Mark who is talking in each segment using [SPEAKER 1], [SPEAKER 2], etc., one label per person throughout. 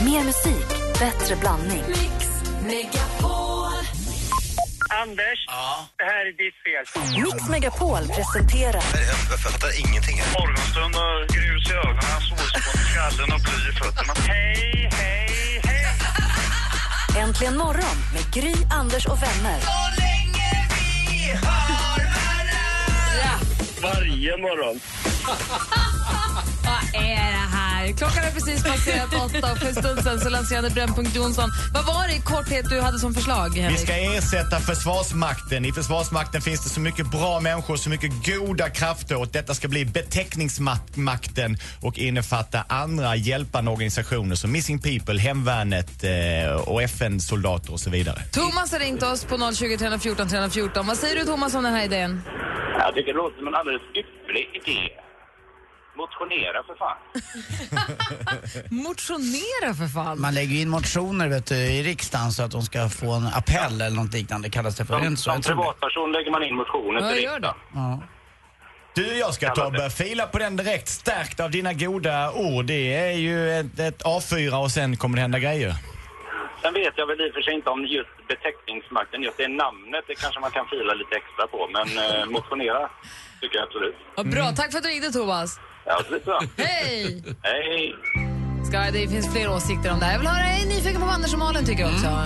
[SPEAKER 1] Mer musik, bättre blandning.
[SPEAKER 2] Mix Megapol.
[SPEAKER 3] Anders,
[SPEAKER 4] Ja.
[SPEAKER 3] det här är ditt fel.
[SPEAKER 1] Mix Megapol presenterar
[SPEAKER 4] Jag, jag fattar ingenting. här.
[SPEAKER 3] Morgonstund och grus i ögonen, solspån i skallen och bly i fötterna. Hej, hej, hej!
[SPEAKER 1] Äntligen morgon med Gry, Anders och vänner.
[SPEAKER 3] Varje morgon.
[SPEAKER 5] Vad är det här? Klockan är precis passerat åtta och för en stund sedan så lanserade Brännpunkt Jonsson. Vad var det i korthet du hade som förslag,
[SPEAKER 6] Vi
[SPEAKER 5] Henrik?
[SPEAKER 6] ska ersätta Försvarsmakten. I Försvarsmakten finns det så mycket bra människor, så mycket goda krafter och detta ska bli beteckningsmakten och innefatta andra hjälpande organisationer som Missing People, Hemvärnet eh, och FN-soldater och så vidare.
[SPEAKER 5] Thomas har ringt oss på 020 314 314. Vad säger du Thomas om den här idén?
[SPEAKER 7] Jag tycker det låter som en alldeles ypperlig idé. Motionera för fan.
[SPEAKER 5] Motionera för fan!
[SPEAKER 8] Man lägger ju in motioner vet du, i riksdagen så att de ska få en appell eller något liknande. Kallas det för. Är det
[SPEAKER 7] Som,
[SPEAKER 8] inte så?
[SPEAKER 7] som
[SPEAKER 8] Jag tror det.
[SPEAKER 7] privatperson lägger man in motioner
[SPEAKER 5] Ja,
[SPEAKER 7] till
[SPEAKER 5] gör
[SPEAKER 7] riksdagen.
[SPEAKER 8] Ja.
[SPEAKER 6] Du, jag ska ta och börja fila på den direkt, stärkt av dina goda ord. Det är ju ett, ett A4 och sen kommer det hända grejer.
[SPEAKER 7] Sen vet jag väl i och för sig inte om just beteckningsmakten, just det namnet, det kanske man kan fila lite extra på. Men eh, motionera tycker jag absolut.
[SPEAKER 5] Vad bra, tack för att du ringde Thomas.
[SPEAKER 7] Ja, absolut bra.
[SPEAKER 5] Hej!
[SPEAKER 7] Hej!
[SPEAKER 5] Ska, det finns fler åsikter om det här. Jag vill höra, jag är nyfiken på vad Anders och Malin tycker också.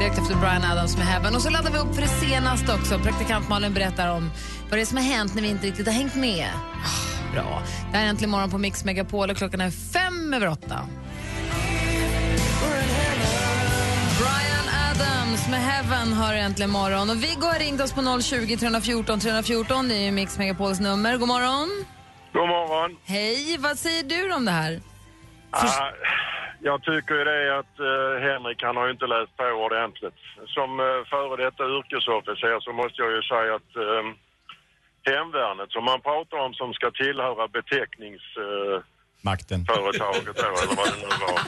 [SPEAKER 5] Direkt efter Brian Adams med Heaven. Och så laddar vi upp för det senaste också. Praktikant Malin berättar om vad det är som har hänt när vi inte riktigt har hängt med. Ah, Bra. Det här är äntligen morgon på Mix Megapol och klockan är fem över åtta. Brian Adams med Heaven har äntligen morgon. Och Viggo har ringt oss på 020 314 314. Det är ju Mix Megapols nummer. God morgon.
[SPEAKER 3] God morgon.
[SPEAKER 5] Hej, vad säger du om det här?
[SPEAKER 3] Ah, jag tycker ju det att eh, Henrik, han har ju inte läst på ordentligt. Som eh, före detta yrkesofficer så måste jag ju säga att eh, hemvärnet som man pratar om som ska tillhöra beteckningsföretaget eh,
[SPEAKER 6] Makten.
[SPEAKER 3] företaget då, eller vad det nu var.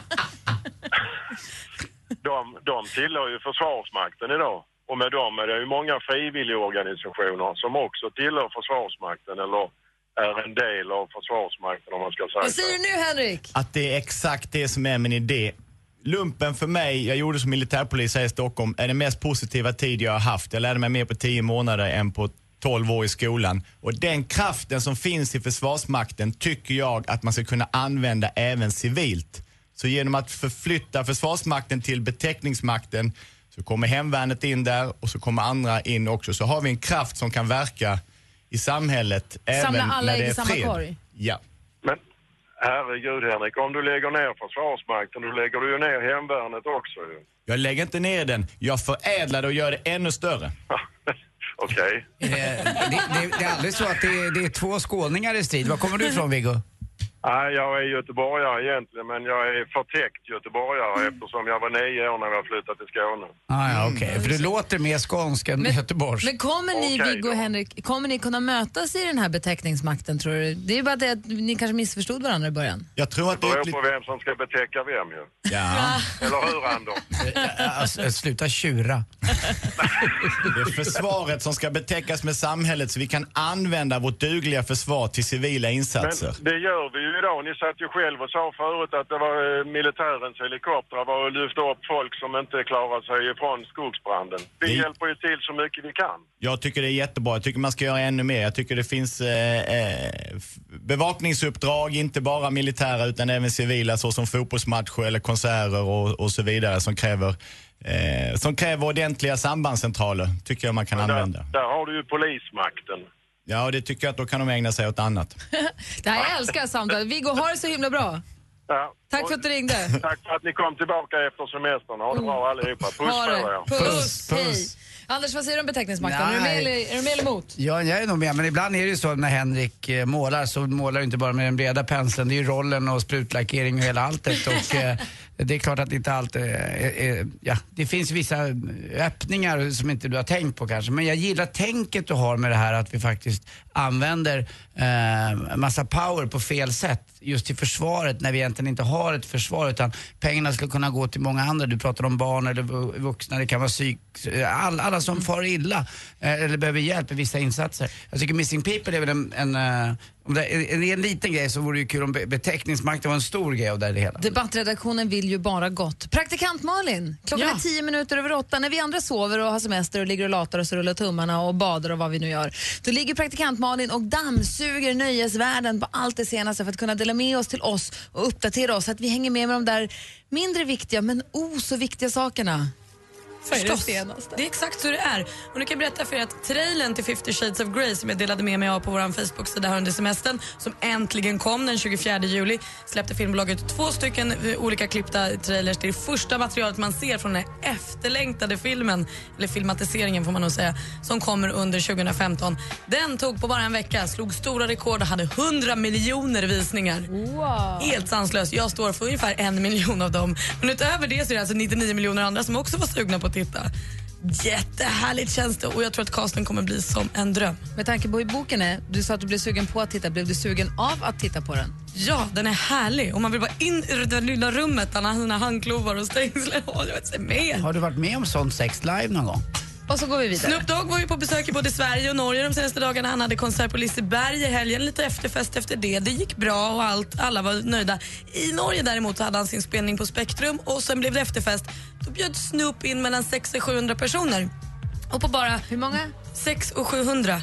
[SPEAKER 3] De, de tillhör ju Försvarsmakten idag. Och med dem är det ju många frivilligorganisationer som också tillhör Försvarsmakten eller är en del av Försvarsmakten om man ska säga
[SPEAKER 5] Vad säger du nu, Henrik?
[SPEAKER 6] att det är exakt det som är min idé. Lumpen för mig, jag gjorde som militärpolis här i Stockholm, är den mest positiva tid jag har haft. Jag lärde mig mer på 10 månader än på 12 år i skolan. Och den kraften som finns i Försvarsmakten tycker jag att man ska kunna använda även civilt. Så genom att förflytta Försvarsmakten till beteckningsmakten så kommer hemvärnet in där och så kommer andra in också. Så har vi en kraft som kan verka i samhället
[SPEAKER 5] Samla
[SPEAKER 6] även
[SPEAKER 5] alla
[SPEAKER 6] när det
[SPEAKER 5] ägg i
[SPEAKER 6] är
[SPEAKER 5] samma
[SPEAKER 6] fred.
[SPEAKER 5] korg.
[SPEAKER 6] Ja.
[SPEAKER 3] Men herregud Henrik, om du lägger ner Försvarsmakten då lägger du ju ner hemvärnet också ju.
[SPEAKER 6] Jag lägger inte ner den, jag förädlar det och gör det ännu större.
[SPEAKER 3] Okej.
[SPEAKER 8] Eh, Det, det, det är aldrig så att det är, det är två skåningar i strid. Var kommer du ifrån Viggo?
[SPEAKER 3] Nej, jag är göteborgare egentligen men jag är förtäckt göteborgare eftersom jag var nio år när jag flyttade till Skåne.
[SPEAKER 8] Ah, ja, okej. För du låter mer skånsk än göteborgsk.
[SPEAKER 5] Men kommer ni,
[SPEAKER 3] Okej
[SPEAKER 5] Viggo och
[SPEAKER 3] då.
[SPEAKER 5] Henrik, kommer ni kunna mötas i den här beteckningsmakten tror du? Det är ju bara det att ni kanske missförstod varandra i början.
[SPEAKER 6] Jag tror att
[SPEAKER 3] Det
[SPEAKER 6] det är
[SPEAKER 3] beror
[SPEAKER 6] ett
[SPEAKER 3] på
[SPEAKER 6] litet...
[SPEAKER 3] vem som ska betäcka vem ju.
[SPEAKER 6] Ja,
[SPEAKER 3] Eller hur Anders?
[SPEAKER 8] Alltså, sluta tjura.
[SPEAKER 6] det är försvaret som ska betäckas med samhället så vi kan använda vårt dugliga försvar till civila insatser.
[SPEAKER 3] Men det gör vi ju idag. Ni satt ju själv och sa förut att det var eh, militärens helikoptrar var och lyfte upp folk som inte klarar sig ifrån skogsbranden. Vi
[SPEAKER 6] Det-
[SPEAKER 3] hjälper ju till så mycket vi kan.
[SPEAKER 6] Jag tycker det är jättebra, jag tycker man ska göra ännu mer. Jag tycker det finns eh, eh, f- bevakningsuppdrag, inte bara militära utan även civila såsom fotbollsmatcher eller konserter och, och så vidare som kräver, eh, som kräver ordentliga sambandscentraler. Tycker jag man kan
[SPEAKER 3] Där,
[SPEAKER 6] använda.
[SPEAKER 3] där har du ju polismakten.
[SPEAKER 6] Ja, och det tycker jag att då kan de ägna sig åt annat.
[SPEAKER 5] Det här jag älskar samtalet. Viggo, ha det så himla bra.
[SPEAKER 3] Ja.
[SPEAKER 5] Tack för att du ringde.
[SPEAKER 3] Tack för att ni kom tillbaka efter semestern. Ha det bra allihopa. Puss på
[SPEAKER 5] Mm. Ha det.
[SPEAKER 3] er.
[SPEAKER 5] Puss,
[SPEAKER 8] Puss,
[SPEAKER 5] hej.
[SPEAKER 8] puss.
[SPEAKER 5] Anders, vad säger du om beteckningsmakten? Är du med
[SPEAKER 8] Nej.
[SPEAKER 5] eller, är du med eller emot?
[SPEAKER 8] Ja, jag är nog med. Men ibland är det ju så när Henrik eh, målar så målar du inte bara med den breda penseln. Det är ju rollen och sprutlackering och hela alltet. Och, eh, det är klart att inte allt eh, är, är, ja, det finns vissa eh, öppningar som inte du har tänkt på kanske. Men jag gillar tänket du har med det här att vi faktiskt använder eh, massa power på fel sätt just till försvaret när vi egentligen inte har ett försvar utan pengarna skulle kunna gå till många andra. Du pratar om barn eller vu- vuxna, det kan vara psyk, all, alla som far illa eh, eller behöver hjälp i vissa insatser. Jag tycker Missing People är väl en, en eh, Om det är är en liten grej så vore det ju kul om be- beteckningsmakten var en stor grej och där det hela.
[SPEAKER 5] Debattredaktionen vill ju bara gott. Praktikant Malin, klockan
[SPEAKER 9] Ja.
[SPEAKER 5] är tio minuter över åtta. När vi andra sover och har semester och ligger och latar oss och rullar tummarna och badar och vad vi nu gör, då ligger praktikant Malin och dammsuger nöjesvärlden på allt det senaste för att kunna dela med oss till oss och uppdatera oss så att vi hänger med med de där mindre viktiga men oh så viktiga sakerna.
[SPEAKER 9] Så är
[SPEAKER 5] Förstås.
[SPEAKER 9] det, senast. det är exakt så det är. Och nu kan jag berätta för er att trailern till 50 Shades of Grey som jag delade med mig av på vår Facebook-sida här under semestern, som äntligen kom den 24 juli, släppte filmbolaget två stycken eh, olika klippta trailers. Det är första materialet man ser från den här efterlängtade filmen, eller filmatiseringen får man nog säga, som kommer under 2015. Den tog på bara en vecka, slog stora rekord och hade 100 miljoner visningar. Helt sanslöst. Jag står för ungefär en miljon av dem. Men utöver det så är det alltså 99 miljoner andra som också var sugna på att titta. Jättehärligt känns det och jag tror att casten kommer bli som en dröm.
[SPEAKER 5] Med tanke på hur boken är, du sa att du blev sugen på att titta, blev du sugen av att titta på den?
[SPEAKER 9] Ja, den är härlig och man vill bara in i det där lilla rummet där han har handklovar och stängslen. Åh, jag vet inte mer.
[SPEAKER 8] Har du varit med om sånt sex live någon gång?
[SPEAKER 5] Och så går vi vidare.
[SPEAKER 9] Snoop Dogg var ju på besök i både Sverige och Norge de senaste dagarna. Han hade konsert på Liseberg i helgen, lite efterfest efter det. Det gick bra och allt, alla var nöjda. I Norge däremot så hade han sin spelning på Spektrum och sen blev det efterfest. Då bjöd Snoop in mellan 600 och 700 personer. Och på bara
[SPEAKER 5] Hur många?
[SPEAKER 9] 6 och 700.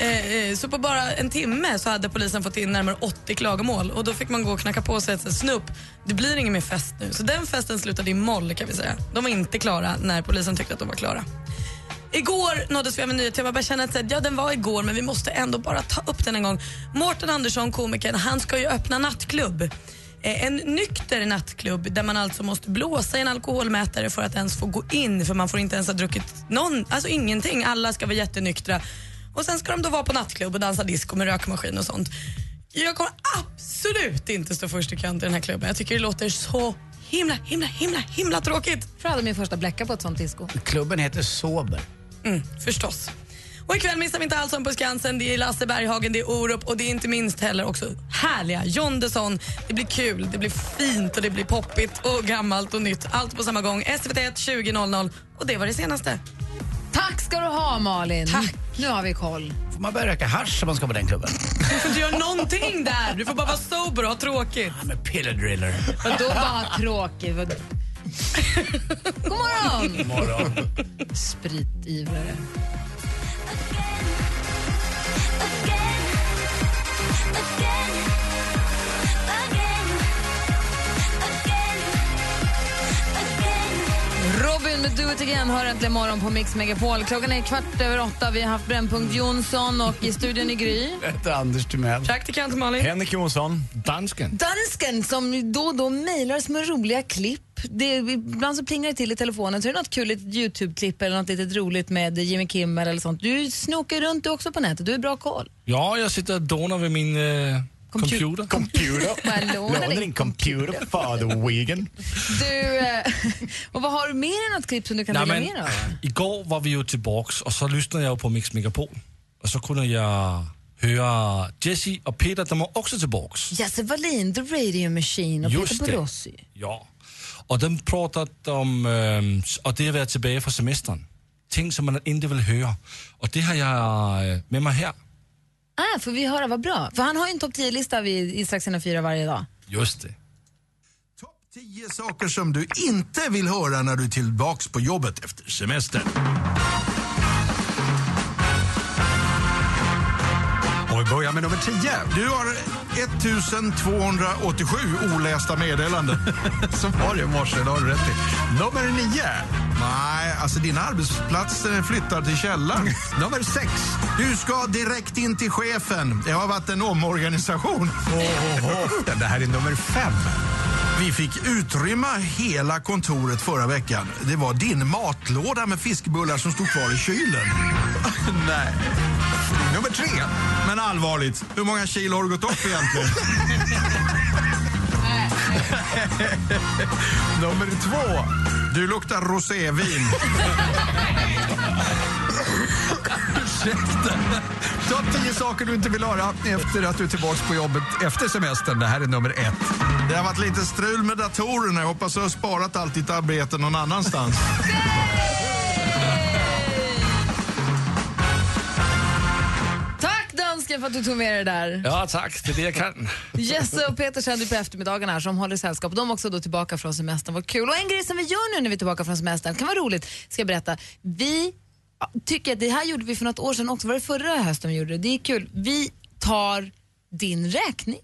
[SPEAKER 9] Eh, eh, så på bara en timme så hade polisen fått in närmare 80 klagomål och då fick man gå och knacka på och säga så här, Snoop, det blir ingen mer fest nu. Så den festen slutade i moll kan vi säga. De var inte klara när polisen tyckte att de var klara. Igår nåddes vi av en nyhet. Jag bara kände att så här, ja, den var igår, men vi måste ändå bara ta upp den en gång. Mårten Andersson, komikern, han ska ju öppna nattklubb. Eh, En nykter nattklubb där man alltså måste blåsa i en alkoholmätare för att ens få gå in för man får inte ens ha druckit någon, alltså ingenting. Alla ska vara jättenyktra. Och sen ska de då vara på nattklubb och dansa disco med rökmaskin och sånt. Jag kommer absolut inte stå först i kön till den här klubben. Jag tycker det låter så himla, himla, himla, himla tråkigt.
[SPEAKER 5] För jag hade min första bläcka på ett sånt disco.
[SPEAKER 8] Klubben heter Sober.
[SPEAKER 9] Mm, förstås. Och ikväll missar vi inte Allsång på Skansen, det är Lasse Berghagen, det är Orup och det är inte minst heller också härliga John Desson. Det blir kul, det blir fint och det blir poppigt och gammalt och nytt. Allt på samma gång. SVT 20.00 och det var det senaste.
[SPEAKER 5] Tack ska du ha Malin!
[SPEAKER 9] Tack.
[SPEAKER 5] Nu har vi koll.
[SPEAKER 8] Får man börja röka hasch om man ska på den klubben?
[SPEAKER 9] Du får inte göra någonting där, du får bara vara sober och ha tråkigt.
[SPEAKER 8] I'm a pillar driller.
[SPEAKER 5] Vadå bara tråkig? Vad... God morgon!
[SPEAKER 8] Morgon.
[SPEAKER 5] Spritivrare. Robin med Do It Again hör äntligen morgon på Mix Megapol. Klockan är kvart över åtta. Vi har haft Brännpunkt Jonsson och i studion i Gry.
[SPEAKER 8] Jag heter Anders Timell.
[SPEAKER 9] Praktikant Malin.
[SPEAKER 6] Henrik Jonsson.
[SPEAKER 10] Dansken.
[SPEAKER 5] Dansken som då och då mejlar oss med roliga klipp. Det, ibland så plingar det till i telefonen så är det något kul litet Youtube-klipp eller något litet roligt med Jimmy Kimmel eller sånt. Du snokar runt du också på nätet, du är bra koll.
[SPEAKER 10] Ja, jag sitter och donar vid min eh, computer.
[SPEAKER 5] Bara
[SPEAKER 6] Computer.
[SPEAKER 5] låna
[SPEAKER 6] Låna
[SPEAKER 5] din
[SPEAKER 6] din computer, father Wigan.
[SPEAKER 5] Du, eh, och vad har du mer än något klipp som du kan
[SPEAKER 10] Nej,
[SPEAKER 5] dela
[SPEAKER 10] men,
[SPEAKER 5] med dig av?
[SPEAKER 10] igår var vi ju tillbaks och så lyssnade jag på Mix Megapol. Och så kunde jag höra Jesse och Peter, de var också tillbaks.
[SPEAKER 5] Jesse Wallin, The Radio Machine och Peter Borossi.
[SPEAKER 10] Ja. Och de pratade om, ehm, s- och det har varit tillbaka från semestern. Ting som man inte vill höra. Och det har jag eh, med mig här.
[SPEAKER 5] Ah, får vi höra vad bra? För han har ju en topp 10-lista vid i strax innan fyra varje dag.
[SPEAKER 10] Just det.
[SPEAKER 4] Topp 10 saker som du inte vill höra när du är tillbaks på jobbet efter semestern. Och vi börjar med nummer 10. Du har 1287 olästa meddelanden. Så var det i morse, det har du rätt i. Nummer 9. Nej, alltså din arbetsplats eh, flyttar till källaren. Nummer 6. Du ska direkt in till chefen. Det har varit en omorganisation. Det här är nummer 5. Vi fick utrymma hela kontoret förra veckan. Det var din matlåda med fiskbullar som stod kvar i kylen. Nej. Nummer tre. Men allvarligt, hur många kilo har du gått upp egentligen? Nummer två. Du luktar rosévin. Ursäkta. Topp 10 saker du inte vill höra efter att du är tillbaka på jobbet efter semestern. Det här är nummer ett. Det har varit lite strul med datorerna. Jag hoppas du har sparat allt ditt arbete någon annanstans.
[SPEAKER 5] Tack Dansken för att du tog med dig det där.
[SPEAKER 10] Ja, tack. Det är det jag kan.
[SPEAKER 5] Jesse och Peter sänder på eftermiddagen här som håller sällskap. De är också då tillbaka från semestern. Vad kul. Och en grej som vi gör nu när vi är tillbaka från semestern, kan vara roligt, ska jag berätta. Vi ja, tycker att det här gjorde vi för något år sedan också. Var det förra hösten vi gjorde det? Det är kul. Vi tar din räkning.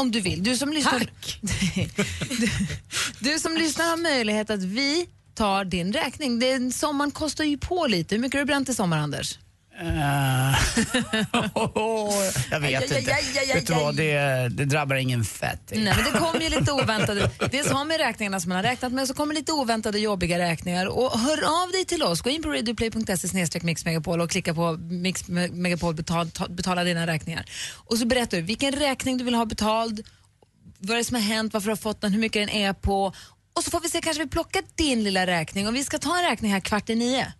[SPEAKER 5] Om du vill. Du som lyssnar, du, du som lyssnar har möjlighet att vi tar din räkning. Det, sommaren kostar ju på lite. Hur mycket har du bränt i sommar, Anders?
[SPEAKER 8] Eh. jag vet
[SPEAKER 5] Aj, aj,
[SPEAKER 8] inte.
[SPEAKER 5] aj, aj, aj,
[SPEAKER 8] Vet du vad, det, det drabbar ingen fett.
[SPEAKER 5] Nej, men det kommer ju lite oväntade. Det som har med räkningarna som man har räknat med, så kommer lite oväntade jobbiga räkningar. Och hör av dig till oss. Gå in på radioplay.se snedstreck mixmegapol och klicka på mix Me- megapol betal, ta- betala dina räkningar. Och så berättar du vilken räkning du vill ha betald, vad det är som har hänt, varför du har fått den, hur mycket den är på. Och så får vi se, kanske vi plockar din lilla räkning och vi ska ta en räkning här kvart i nio.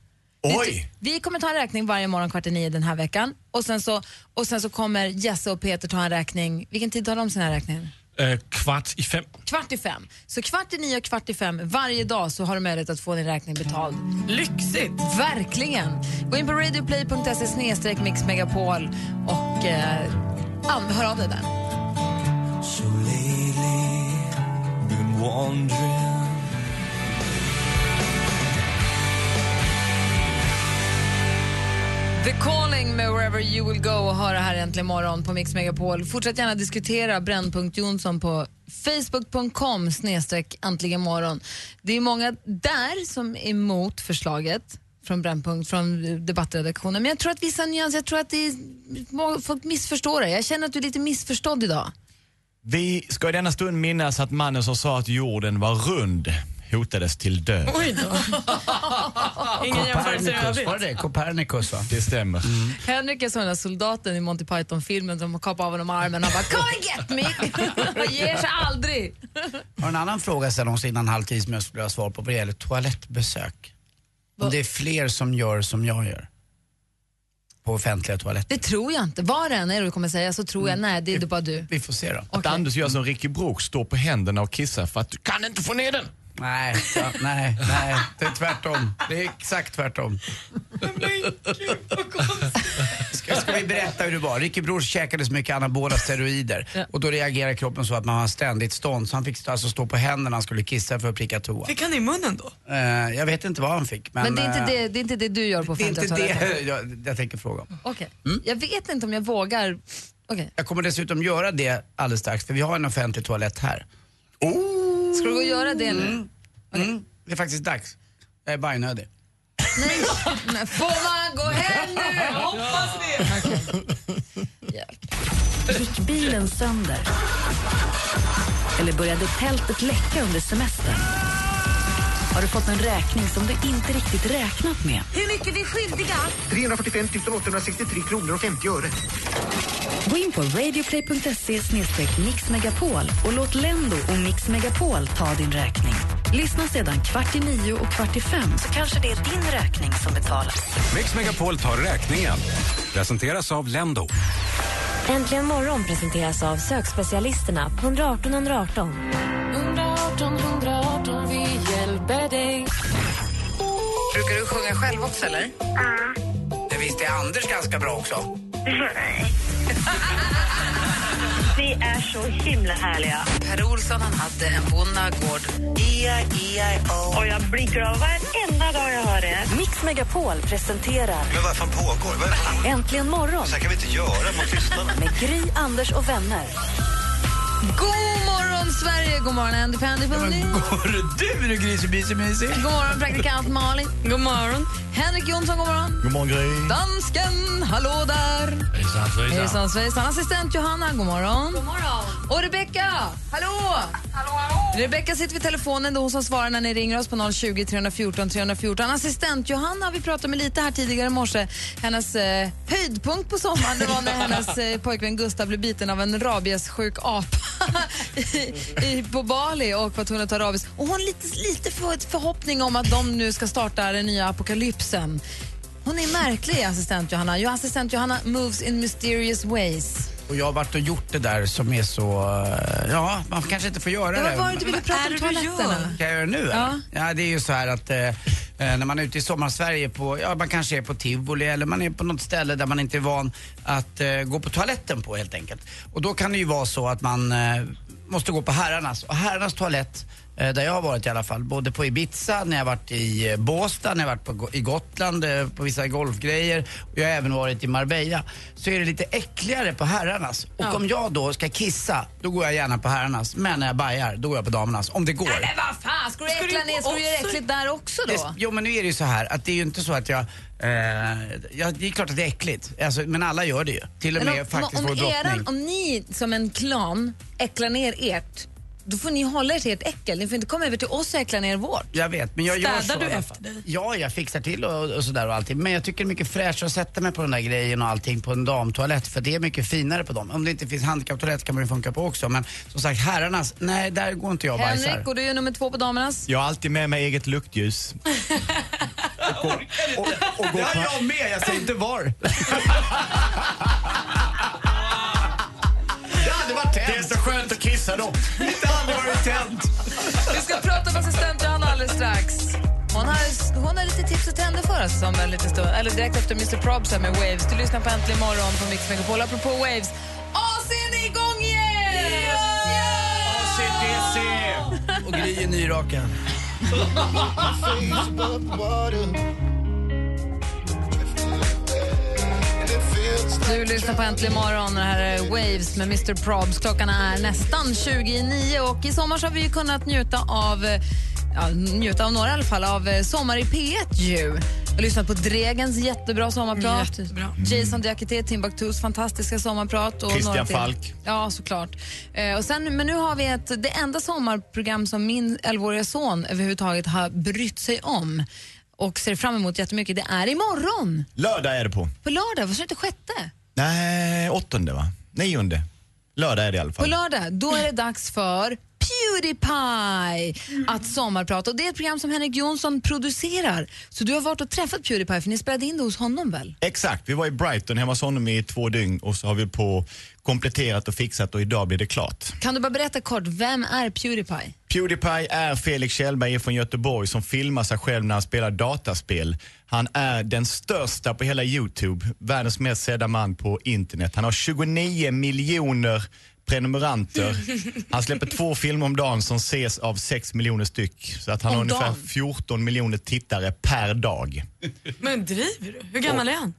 [SPEAKER 6] Oj!
[SPEAKER 5] Vi kommer ta en räkning varje morgon kvart i nio den här veckan och sen så, och sen så kommer Jesse och Peter ta en räkning. Vilken tid tar de sina räkningar?
[SPEAKER 10] Eh, kvart i fem.
[SPEAKER 5] Kvart i fem. Så kvart i nio och kvart i fem varje dag så har du möjlighet att få din räkning betald.
[SPEAKER 9] Lyxigt!
[SPEAKER 5] Verkligen! Gå in på radioplay.se snedstreck mixmegapol och eh, an- hör av dig där. The Calling med Wherever You Will Go och höra här äntligen morgon på Mix Megapol. Fortsätt gärna diskutera Brännpunkt Jonsson på facebook.com snedstreck äntligen morgon. Det är många där som är emot förslaget från Brännpunkt, från debattredaktionen. Men jag tror att vissa nyanser, jag tror att det är, må- folk missförstår det. Jag känner att du är lite missförstådd idag.
[SPEAKER 6] Vi ska i denna stund minnas att mannen som sa att jorden var rund hotades till död.
[SPEAKER 9] Oj då. Ingen jämförelse i
[SPEAKER 8] Copernicus, var
[SPEAKER 9] övrigt.
[SPEAKER 8] det det Copernicus va? Mm.
[SPEAKER 6] Det stämmer.
[SPEAKER 5] Henrik är som den där soldaten i Monty Python-filmen som kapar av honom armen och bara “Come and get me!” Han ger sig aldrig.
[SPEAKER 8] Har en annan fråga sen också innan halvtid som jag skulle vilja svara på vad det gäller toalettbesök. Om det är fler som gör som jag gör. På offentliga toaletter.
[SPEAKER 5] Det tror jag inte. Var det än är du kommer säga så tror
[SPEAKER 8] Mm.
[SPEAKER 5] jag, nej det är bara du.
[SPEAKER 8] Vi får se då.
[SPEAKER 6] Att Anders gör som Ricky Brook, står på händerna och kissar för att du kan inte få ner den.
[SPEAKER 8] Nej, ja, nej, nej. Det är tvärtom. Det är exakt tvärtom. Ska, ska vi berätta hur det var? Ricky Bror käkade så mycket anabola steroider och då reagerar kroppen så att man har ständigt stånd så han fick alltså stå på händerna när han skulle kissa för att pricka toa.
[SPEAKER 9] Fick han i munnen då?
[SPEAKER 8] Eh, jag vet inte vad han fick men...
[SPEAKER 5] Men det är, inte
[SPEAKER 8] eh,
[SPEAKER 5] det, det är inte det du gör på
[SPEAKER 8] Det är
[SPEAKER 5] offentliga
[SPEAKER 8] inte det
[SPEAKER 5] toaletter?
[SPEAKER 8] jag, Mm. jag tänker fråga om.
[SPEAKER 5] Okej. Jag vet inte om jag vågar. Okej.
[SPEAKER 8] Jag kommer dessutom göra det alldeles strax för vi har en offentlig toalett här.
[SPEAKER 9] Oh!
[SPEAKER 5] Ska du gå och göra det nu?
[SPEAKER 8] Mm. Det är faktiskt dags. Jag är bajnödig.
[SPEAKER 5] Nej. nej. Får man gå hem nu? Hoppas det. Hjälp.
[SPEAKER 1] Gick bilen sönder? Eller började tältet läcka under semestern? Har du fått en räkning som du inte riktigt räknat med?
[SPEAKER 2] Hur mycket vi är skyldiga?
[SPEAKER 11] 345 863 kronor och 50 öre.
[SPEAKER 1] Gå in på radioplay.se mixmegapol och låt Lendo och Mix Megapol ta din räkning. Lyssna sedan kvart i nio och kvart i fem så kanske det är din räkning som betalas.
[SPEAKER 12] Mix Megapol tar räkningen. Presenteras av Lendo.
[SPEAKER 2] Äntligen morgon presenteras av sökspecialisterna på 118 118. 118 118, vi hjälper dig.
[SPEAKER 5] Brukar du sjunga själv också eller?
[SPEAKER 8] Det visste Anders ganska bra också.
[SPEAKER 2] Vi är så himla härliga.
[SPEAKER 5] Per Olsson han hade en bonnagård.
[SPEAKER 2] Och jag blinkar av varenda dag jag hör det.
[SPEAKER 1] Mix Megapol presenterar
[SPEAKER 11] Men vad fan pågår? Vad är det här?
[SPEAKER 1] Äntligen morgon
[SPEAKER 11] Så här kan vi inte göra mot lyssnarna.
[SPEAKER 1] med Gry, Anders och vänner.
[SPEAKER 5] God morgon Sverige, god morgon Andy Pandy Bundy.
[SPEAKER 8] Går du du grisebissemysig?
[SPEAKER 5] God morgon praktikant Malin.
[SPEAKER 9] God morgon.
[SPEAKER 5] Henrik Jonsson, god morgon.
[SPEAKER 6] God morgon Gry.
[SPEAKER 5] Dansken, hallå där.
[SPEAKER 10] Hejsan svejsan.
[SPEAKER 5] Hejsan svejsan. Assistent Johanna, god morgon. God morgon. Och Rebecka, hallå! Rebecka sitter vid telefonen, det är hon som svarar när ni ringer oss på 020 314 314. Assistent Johanna har vi pratat med lite här tidigare i morse. Hennes eh, höjdpunkt på sommaren det var när hennes eh, pojkvän Gustav blev biten av en rabiessjuk apa i, i, på Bali och var tvungen att ta rabies. Och hon har lite, lite för, ett förhoppning om att de nu ska starta den nya apokalypsen. Hon är märklig, assistent Johanna. Jo, assistent Johanna moves in mysterious ways.
[SPEAKER 8] Och jag har varit och gjort det där som är så... eh, Ja, man kanske inte får göra
[SPEAKER 5] Ja,
[SPEAKER 8] det.
[SPEAKER 5] vad var det du ville prata
[SPEAKER 9] Vad
[SPEAKER 5] om
[SPEAKER 9] är det du gör?
[SPEAKER 5] toaletterna?
[SPEAKER 8] Kan jag göra det nu eller?
[SPEAKER 5] Ja.
[SPEAKER 8] ja, det är ju så här att eh, Eh, när man är ute i sommarsverige på, ja man kanske är på tivoli eller man är på något ställe där man inte är van att eh, gå på toaletten på helt enkelt. Och då kan det ju vara så att man eh, måste gå på herrarnas. Och herrarnas toalett eh, där jag har varit i alla fall, både på Ibiza, när jag har varit i eh, Båstad, när jag har varit på, Go- i Gotland, eh, på vissa golfgrejer och jag har även varit i Marbella, så är det lite äckligare på herrarnas. Och om jag då ska kissa, då går jag gärna på herrarnas. Men när jag bajar, då går jag på damernas. Om det går.
[SPEAKER 5] Nej, men vad fan, ska du
[SPEAKER 9] Ska du
[SPEAKER 5] äckla
[SPEAKER 9] gå
[SPEAKER 5] ner, ska du göra
[SPEAKER 9] också?
[SPEAKER 5] äckligt där också då?
[SPEAKER 8] Det- Jo men nu är det ju så här att det är ju inte så att jag... Eh, ja, det är klart att det är äckligt, alltså, men alla gör det ju. Till och
[SPEAKER 5] Men
[SPEAKER 8] med faktiskt
[SPEAKER 5] om,
[SPEAKER 8] vår
[SPEAKER 5] om,
[SPEAKER 8] drottning.
[SPEAKER 5] eran, om ni som en klan äcklar ner ert, då får ni hålla er till ert äckel. Ni får inte komma över till oss och äckla ner vårt.
[SPEAKER 8] Jag vet, men jag gör så.
[SPEAKER 5] Städar du
[SPEAKER 8] i alla
[SPEAKER 5] efter
[SPEAKER 8] fall. Ja, jag fixar till och, och sådär och allting. Men jag tycker det är mycket fräschare att sätta mig på den där grejen och allting på en damtoalett för det är mycket finare på dem. Om det inte finns handikapptoalett kan man ju funka på också. Men som sagt, herrarnas, nej där går inte jag och bajsar.
[SPEAKER 5] Henrik, och du är nummer två på damernas.
[SPEAKER 6] Jag har alltid med mig eget luktljus. och, och, och ja, jag med! Jag säger inte var.
[SPEAKER 8] Det hade varit
[SPEAKER 6] Det är så skönt att kissa då.
[SPEAKER 8] Det hade varit tänt.
[SPEAKER 5] Vi ska prata med assistent Johanna alldeles strax. Hon har, hon har lite tips och trender för oss om en liten stund. Eller direkt efter Mr Probs här med Waves. Du lyssnar på Äntligen morgon på Mix Megapol. Apropå Waves, AC är igång igen!
[SPEAKER 6] ACDC!
[SPEAKER 8] Och Gry är nyrakad.
[SPEAKER 5] Du lyssnar på Äntligen morgon. Det här är Waves med Mr Probs. Klockan är nästan 20 i nio och i sommar så har vi ju kunnat njuta av eh, ja, njuta av några i alla fall, av eh, Sommar i P1 ju. Jag lyssnat på Dregens jättebra sommarprat. Jason Diakité, Timbuktus fantastiska sommarprat. Och
[SPEAKER 6] Christian
[SPEAKER 5] några till.
[SPEAKER 6] Falk.
[SPEAKER 5] Ja, såklart. Eh, och sen, men nu har vi ett, det enda sommarprogram som min 11-åriga son överhuvudtaget har brytt sig om och ser fram emot jättemycket. Det är imorgon,
[SPEAKER 6] Lördag är det på.
[SPEAKER 5] på lördag. Vad sa du, inte sjätte?
[SPEAKER 6] Nej, åttonde va? Nionde. Lördag är det i alla
[SPEAKER 5] På
[SPEAKER 6] fall.
[SPEAKER 5] lördag, då är det dags för Pewdiepie att sommarprata. Och det är ett program som Henrik Jonsson producerar. Så du har varit och träffat Pewdiepie för ni spelade in det hos honom väl?
[SPEAKER 6] Exakt, vi var i Brighton hemma hos honom i två dygn och så har vi på kompletterat och fixat och idag blir det klart.
[SPEAKER 5] Kan du bara berätta kort, vem är Pewdiepie?
[SPEAKER 6] Pewdiepie är Felix Kjellberg från Göteborg som filmar sig själv när han spelar dataspel. Han är den största på hela Youtube, världens mest sedda man på internet. Han har 29 miljoner prenumeranter. Han släpper två filmer om dagen som ses av 6 miljoner styck. Så att han
[SPEAKER 9] Om
[SPEAKER 6] har ungefär
[SPEAKER 9] dagen?
[SPEAKER 6] 14 miljoner tittare per dag.
[SPEAKER 9] Men driver du? Hur gammal är han?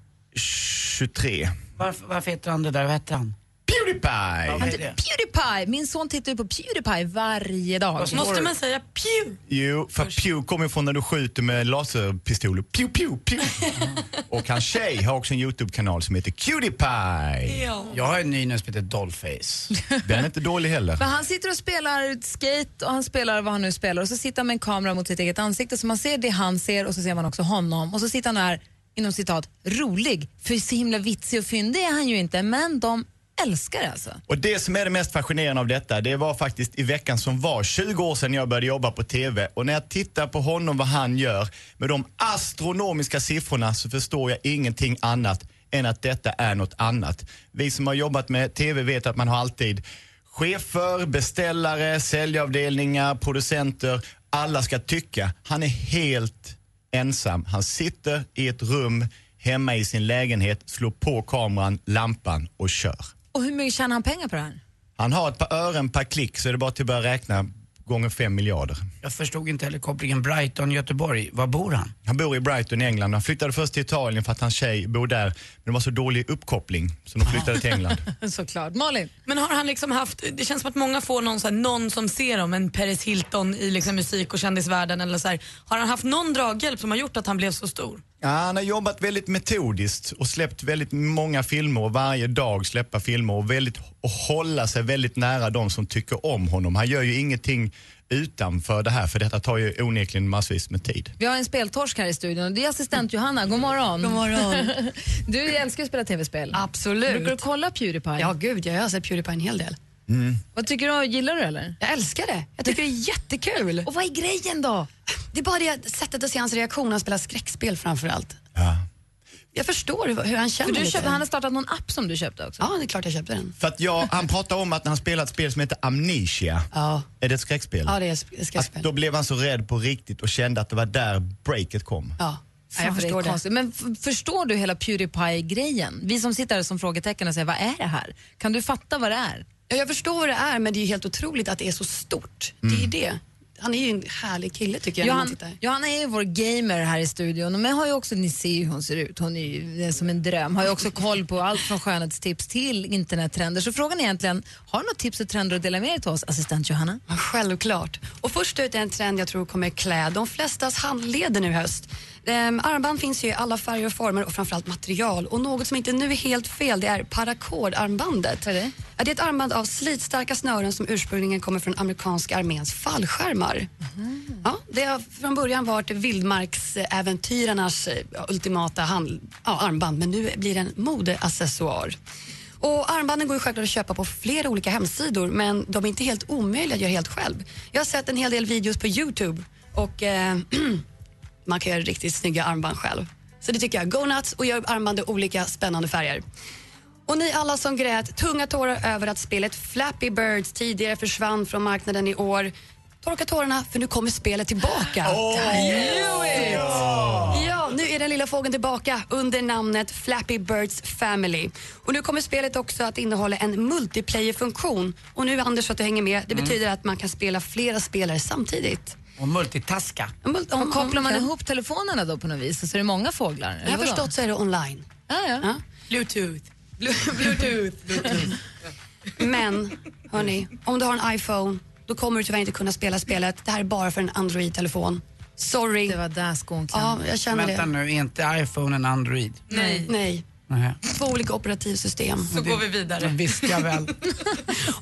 [SPEAKER 6] 23.
[SPEAKER 8] Varför, varför heter han det där? Vad heter han?
[SPEAKER 6] Pewdiepie!
[SPEAKER 5] Han heter Pewdiepie. Min son tittar ju på Pewdiepie varje dag.
[SPEAKER 9] Måste man säga pew?
[SPEAKER 6] Jo, för pew kommer från när du skjuter med laserpistoler. Pew, pew, pew. Och hans tjej har också en YouTube-kanal som heter Cutie-Pie.
[SPEAKER 8] Jag har en ny nu som heter Dollface.
[SPEAKER 6] Den är inte dålig heller.
[SPEAKER 5] Men han sitter och spelar skate och han spelar vad han nu spelar och så sitter han med en kamera mot sitt eget ansikte så man ser det han ser och så ser man också honom och så sitter han där inom citat rolig för så himla vitsig och fyndig är han ju inte men de älskar det alltså.
[SPEAKER 6] Och det som är det mest fascinerande av detta, det var faktiskt i veckan som var, 20 år sedan jag började jobba på TV. Och när jag tittar på honom, vad han gör, med de astronomiska siffrorna så förstår jag ingenting annat än att detta är något annat. Vi som har jobbat med TV vet att man har alltid chefer, beställare, säljavdelningar, producenter. Alla ska tycka. Han är helt ensam. Han sitter i ett rum hemma i sin lägenhet, slår på kameran, lampan och kör.
[SPEAKER 5] Och hur mycket tjänar han pengar på det här?
[SPEAKER 6] Han har ett par ören per klick så är det bara till att börja räkna gånger fem miljarder.
[SPEAKER 8] Jag förstod inte heller kopplingen Brighton-Göteborg. Var bor han?
[SPEAKER 6] Han bor i Brighton i England. Han flyttade först till Italien för att hans tjej bor där. Men det var så dålig uppkoppling så de flyttade till England.
[SPEAKER 5] Såklart. Malin?
[SPEAKER 9] Men har han liksom haft, det känns som att många får någon, så här, någon som ser dem, en Paris Hilton i liksom musik och kändisvärlden eller så här. Har han haft någon draghjälp som har gjort att han blev så stor?
[SPEAKER 6] Ja, han har jobbat väldigt metodiskt och släppt väldigt många filmer och varje dag släppa filmer och, väldigt, och hålla sig väldigt nära de som tycker om honom. Han gör ju ingenting utanför det här för detta tar ju onekligen massvis med tid.
[SPEAKER 5] Vi har en speltorsk här i studion och det är assistent Johanna. God morgon. God morgon. Du älskar ju att spela tv-spel.
[SPEAKER 13] Absolut.
[SPEAKER 5] Brukar du kolla Pewdiepie?
[SPEAKER 13] Ja, gud, jag har sett Pewdiepie en hel del.
[SPEAKER 6] Mm.
[SPEAKER 5] Vad tycker du? Gillar du det eller?
[SPEAKER 13] Jag älskar det. Jag tycker det är jättekul.
[SPEAKER 5] Och vad är grejen då?
[SPEAKER 13] Det är bara det sättet att se hans reaktion. Han spelar skräckspel framför allt.
[SPEAKER 6] Ja.
[SPEAKER 13] jag förstår hur, hur han känner
[SPEAKER 5] För du
[SPEAKER 13] lite.
[SPEAKER 5] köpte, han har startat någon app som du köpte också.
[SPEAKER 13] Ja, det är klart jag köpte den.
[SPEAKER 6] För att jag, han pratar om att när han spelar ett spel som heter Amnesia.
[SPEAKER 13] Ja.
[SPEAKER 6] Är det ett skräckspel?
[SPEAKER 13] Ja, det är sk- skräckspel.
[SPEAKER 6] Att då blev han så rädd på riktigt och kände att det var där breaket kom.
[SPEAKER 13] Ja,
[SPEAKER 5] Fan, jag förstår det. är konstigt. Men f- förstår du hela Pewdiepie-grejen? Vi som sitter här som frågetecken och säger vad är det här? Kan du fatta vad det är?
[SPEAKER 13] Ja, jag förstår vad det är, men det är ju helt otroligt att det är så stort. Det är ju det. Han är ju en härlig kille tycker jag när man
[SPEAKER 5] Johan,
[SPEAKER 13] tittar.
[SPEAKER 5] Johanna är ju vår gamer här i studion, men har ju också, ni ser ju hur hon ser ut, hon är ju det är som en dröm, har ju också koll på allt från skönhetstips till internettrender. Så frågan är egentligen, har du något tips och trender att dela med er till oss, assistent Johanna?
[SPEAKER 13] Ja, Självklart. Och först ut är en trend jag tror kommer klä de flestas handleder nu i höst. Ehm, armband finns ju i alla färger och former och framförallt material. Och något som inte nu är helt fel det är parakordarmbandet. Vad är det? Ja, det är ett armband av slitstarka snören som ursprungligen kommer från amerikanska arméns fallskärmar. Ja, det har från början varit vildmarksäventyrarnas eh, ultimata hand, ja, armband men nu blir det en modeaccessoar. Och armbanden går ju självklart att köpa på flera olika hemsidor men de är inte helt omöjliga att göra helt själv. Jag har sett en hel del videos på Youtube och eh, man kan göra riktigt snygga armband själv. Så det tycker jag. Go nuts och gör armband i olika spännande färger. Och ni alla som grät tunga tårar över att spelet Flappy Birds tidigare försvann från marknaden i år. Torka tårarna för nu kommer spelet tillbaka. Ja, nu är den lilla fågeln tillbaka under namnet Flappy Birds Family. Och nu kommer spelet också att innehålla en multiplayer-funktion. Och nu Anders, så att du hänger med, det betyder att man kan spela flera spelare samtidigt.
[SPEAKER 8] Och multitaska.
[SPEAKER 13] Mul- om-
[SPEAKER 5] Kopplar man
[SPEAKER 13] Mm. ja.
[SPEAKER 5] ihop telefonerna då på något vis, så är det många fåglar? eller
[SPEAKER 13] Jag har
[SPEAKER 5] vadå?
[SPEAKER 13] förstått så är det online.
[SPEAKER 5] Ja, ja.
[SPEAKER 13] Bluetooth. Bluetooth. Men, hörni, om du har en iPhone då kommer du tyvärr inte kunna spela spelet. Det här är bara för en Android-telefon. Sorry. Det
[SPEAKER 5] var där skon
[SPEAKER 13] Ja, jag känner
[SPEAKER 8] Vänta
[SPEAKER 13] det.
[SPEAKER 8] nu, är inte iPhone en Android?
[SPEAKER 13] Nej. Nej.
[SPEAKER 8] Nähä.
[SPEAKER 13] Två olika operativsystem.
[SPEAKER 8] Så går vi
[SPEAKER 13] vidare.
[SPEAKER 8] De viskar väl.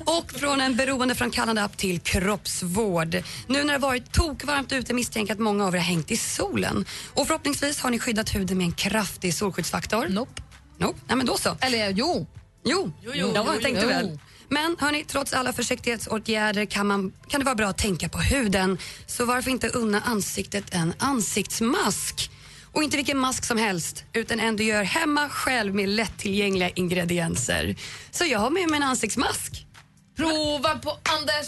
[SPEAKER 13] Och från en beroendeframkallande app till kroppsvård. Nu när det har varit tokvarmt ute misstänker jag att många av er har hängt i solen. Och förhoppningsvis har ni skyddat huden med en kraftig solskyddsfaktor.
[SPEAKER 5] Nope.
[SPEAKER 13] Nope. Nej, men då så.
[SPEAKER 5] Eller jo.
[SPEAKER 13] Jo, jo,
[SPEAKER 5] jo,
[SPEAKER 13] ja,
[SPEAKER 5] jo,
[SPEAKER 13] jag tänkte
[SPEAKER 5] jo.
[SPEAKER 13] väl. Men hörni, trots alla försiktighetsåtgärder kan, man, kan det vara bra att tänka på huden. Så varför inte unna ansiktet en ansiktsmask? Och inte vilken mask som helst, utan en du gör hemma själv med lättillgängliga ingredienser. Så jag har med mig en ansiktsmask.
[SPEAKER 5] Prova på Anders!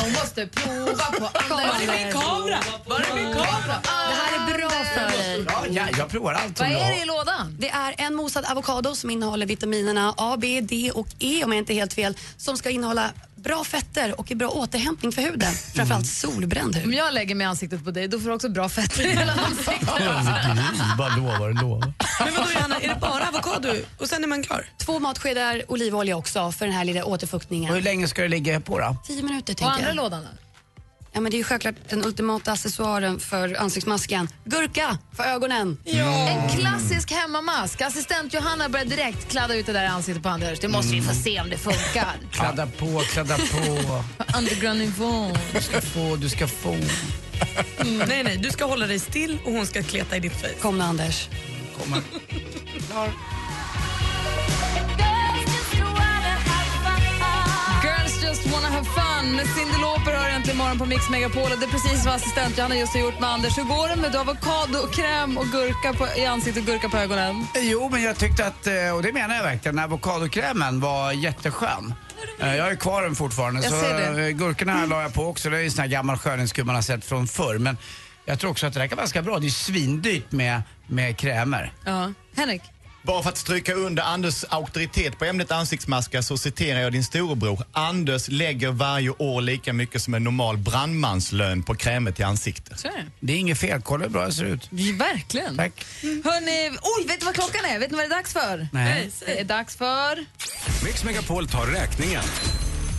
[SPEAKER 5] Han måste prova på Anders.
[SPEAKER 13] Var är min kamera?
[SPEAKER 5] Var är min kamera? Det här är bra för dig.
[SPEAKER 8] Ja, ja, jag provar allt som
[SPEAKER 5] Vad
[SPEAKER 8] jag
[SPEAKER 5] är
[SPEAKER 8] har.
[SPEAKER 5] det i lådan?
[SPEAKER 13] Det är en mosad avokado som innehåller vitaminerna A, B, D och E om jag inte är helt fel, som ska innehålla bra fetter och är bra återhämtning för huden. Framförallt solbränd hud.
[SPEAKER 5] Mm. Om jag lägger mig i ansiktet på dig, då får du också bra fetter i hela ansiktet.
[SPEAKER 6] Bara lovar och lovar.
[SPEAKER 13] Men vadå Johanna, är det bara avokado och sen är man klar? Två matskedar olivolja också för den här lilla
[SPEAKER 8] Och hur
[SPEAKER 13] återfuktningen.
[SPEAKER 8] länge ska det ligga på då?
[SPEAKER 13] Tio minuter
[SPEAKER 5] Och
[SPEAKER 13] tänker
[SPEAKER 5] andra
[SPEAKER 13] jag.
[SPEAKER 5] lådan då?
[SPEAKER 13] Ja, men det är ju självklart den ultimata accessoaren för ansiktsmasken. Gurka för ögonen. Mm.
[SPEAKER 5] En klassisk hemmamask. Assistent Johanna börjar direkt kladda ut det där i ansiktet på Anders. Det måste vi få se om det funkar.
[SPEAKER 8] Kladda på, kladda på.
[SPEAKER 5] Underground nivå. Mm.
[SPEAKER 8] Du ska få, du ska få.
[SPEAKER 9] Nej, nej, du ska hålla dig still och hon ska kleta i ditt face.
[SPEAKER 13] Kom nu Anders.
[SPEAKER 8] Komma.
[SPEAKER 5] Girls just wanna have fun med Cyndi Lauper hör äntligen imorgon på Mix Megapol. Och det är precis vad assistent Johanna just har gjort med Anders. Hur går det med du har avokado och kräm och gurka på, i ansiktet och gurka på ögonen?
[SPEAKER 8] Jo, men jag tyckte att, eh, och det menar jag verkligen, avokadokrämen var jätteskön. Eh, Jag har ju kvar den fortfarande.
[SPEAKER 5] Jag
[SPEAKER 8] så
[SPEAKER 5] ser det.
[SPEAKER 8] eh, Gurkorna här la jag på också. Det är ju sån här gammal skönhetskur man har sett från förr. Men jag tror också att det där kan vara ganska bra. Det är ju svindyrt med, med krämer.
[SPEAKER 5] Ja. Henrik?
[SPEAKER 6] Bara för att stryka under Anders auktoritet på ämnet ansiktsmaskar så citerar jag din storebror. Anders lägger varje år lika mycket som en normal brandmanslön på krämet i ansiktet.
[SPEAKER 5] Så är det.
[SPEAKER 8] Det är inget fel. Kolla hur bra jag ser ut.
[SPEAKER 5] Ja, Verkligen.
[SPEAKER 8] Tack.
[SPEAKER 5] Hörni, oj, vet du vad klockan är? Vet ni vad det är dags för?
[SPEAKER 8] Nej.
[SPEAKER 5] Det är dags för...
[SPEAKER 12] Mix Megapol tar räkningen.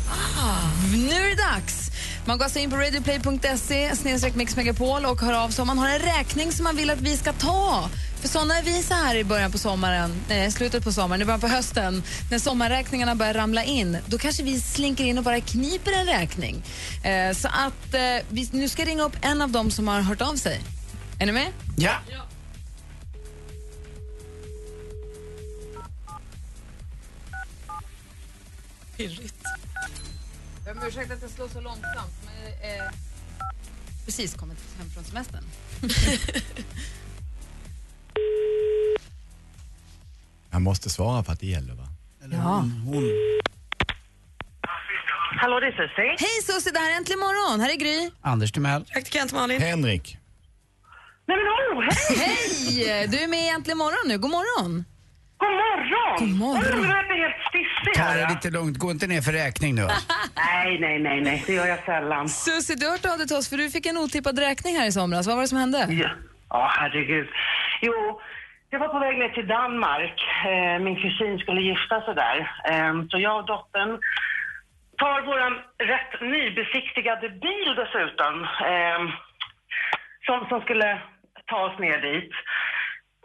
[SPEAKER 5] Ah, Nu är det dags! Man går alltså in på radioplay.se snedstreck Mix Megapol och hör av sig om man har en räkning som man vill att vi ska ta. För såna är vi så här i början på sommaren, eh, slutet på sommaren, i början på hösten. När sommarräkningarna börjar ramla in, då kanske vi slinker in och bara kniper en räkning. Eh, så att eh, vi, nu ska jag ringa upp en av dem som har hört av sig. Är ni med?
[SPEAKER 8] Ja.
[SPEAKER 9] Pirrigt.
[SPEAKER 5] Jag ber ursäkta att jag slår så långsamt, men eh, precis kommit hem från semestern.
[SPEAKER 6] man måste svara för att det gäller va?
[SPEAKER 5] Ja.
[SPEAKER 14] Hallå, det är Susie.
[SPEAKER 5] Hej Susie, det här är Äntligen morgon. Här är Gry.
[SPEAKER 8] Anders Timell.
[SPEAKER 14] Praktikant Malin.
[SPEAKER 6] Henrik.
[SPEAKER 14] Nej men hallå, hej!
[SPEAKER 5] Hej! Du är med i Äntligen morgon nu. God morgon.
[SPEAKER 14] God morgon!
[SPEAKER 5] God
[SPEAKER 14] Oj, nu
[SPEAKER 5] morgon.
[SPEAKER 14] vart jag helt stissig
[SPEAKER 8] Ta det
[SPEAKER 14] här.
[SPEAKER 8] lite lugnt, gå inte ner för räkning nu.
[SPEAKER 14] Nej, nej, nej, nej, det gör jag sällan.
[SPEAKER 5] Susie, du har hört av dig till oss för du fick en otippad räkning här i somras. Vad var det som hände?
[SPEAKER 14] Ja, Ja, herregud. Jo, jag var på väg ner till Danmark. Eh, Min kusin skulle gifta sig där. Eh, Så jag och dottern tar våran rätt nybesiktigade bil dessutom. eh, Som, som skulle ta oss ner dit.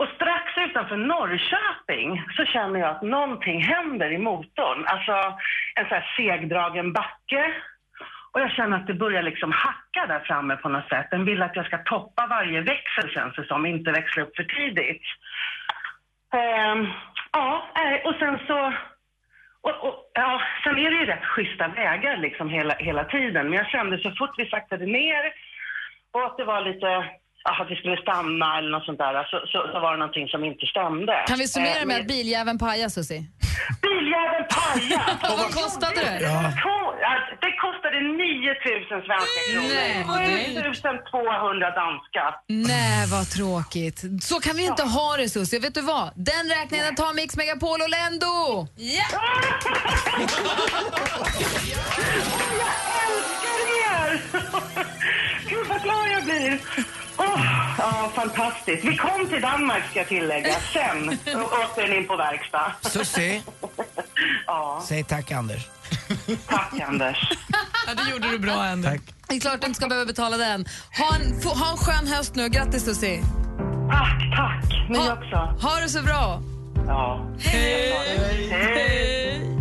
[SPEAKER 14] Och strax utanför Norrköping så känner jag att någonting händer i motorn. Alltså en sån här segdragen backe. Och jag känner att det börjar liksom hacka där framme på något sätt. Den vill att jag ska toppa varje växel känns det som, inte växla upp för tidigt. Ehm, ja, nej, och sen så... Och, och, ja, sen är det ju rätt schyssta vägar liksom hela, hela tiden. Men jag kände så fort vi saktade ner och att det var lite... ja, Att vi skulle stanna eller något sånt där, så, så, så var det någonting som inte stämde.
[SPEAKER 5] Kan vi summera
[SPEAKER 14] Ehm,
[SPEAKER 5] med att biljäveln pajade, Susie?
[SPEAKER 14] Biljäveln pajade!
[SPEAKER 5] Och vad kostade det?
[SPEAKER 14] Ja. Det kostade 9 000 svenska
[SPEAKER 5] Nej, vad
[SPEAKER 14] kronor. 7 200 danska.
[SPEAKER 5] Nej, vad tråkigt. Så kan vi ju inte ha det, Susie. Vet du vad? Den räkningen den tar Mix Megapol Orlando! Ja!
[SPEAKER 14] Gud vad glad jag blir! Åh, ja, fantastiskt. Vi kom till Danmark ska jag tillägga, sen och återigen in på verkstad.
[SPEAKER 8] Susie,
[SPEAKER 14] Ja,
[SPEAKER 8] säg tack Anders.
[SPEAKER 14] tack Anders.
[SPEAKER 5] Ja, det gjorde du bra,
[SPEAKER 8] Tack.
[SPEAKER 5] Det är klart du inte ska behöva betala den. Ha en, få, ha en skön höst nu. Grattis, Susie!
[SPEAKER 14] Tack, Ah, tack. Ni
[SPEAKER 5] ha,
[SPEAKER 14] också.
[SPEAKER 5] Ha det så bra!
[SPEAKER 14] Ja. Hej! Hej!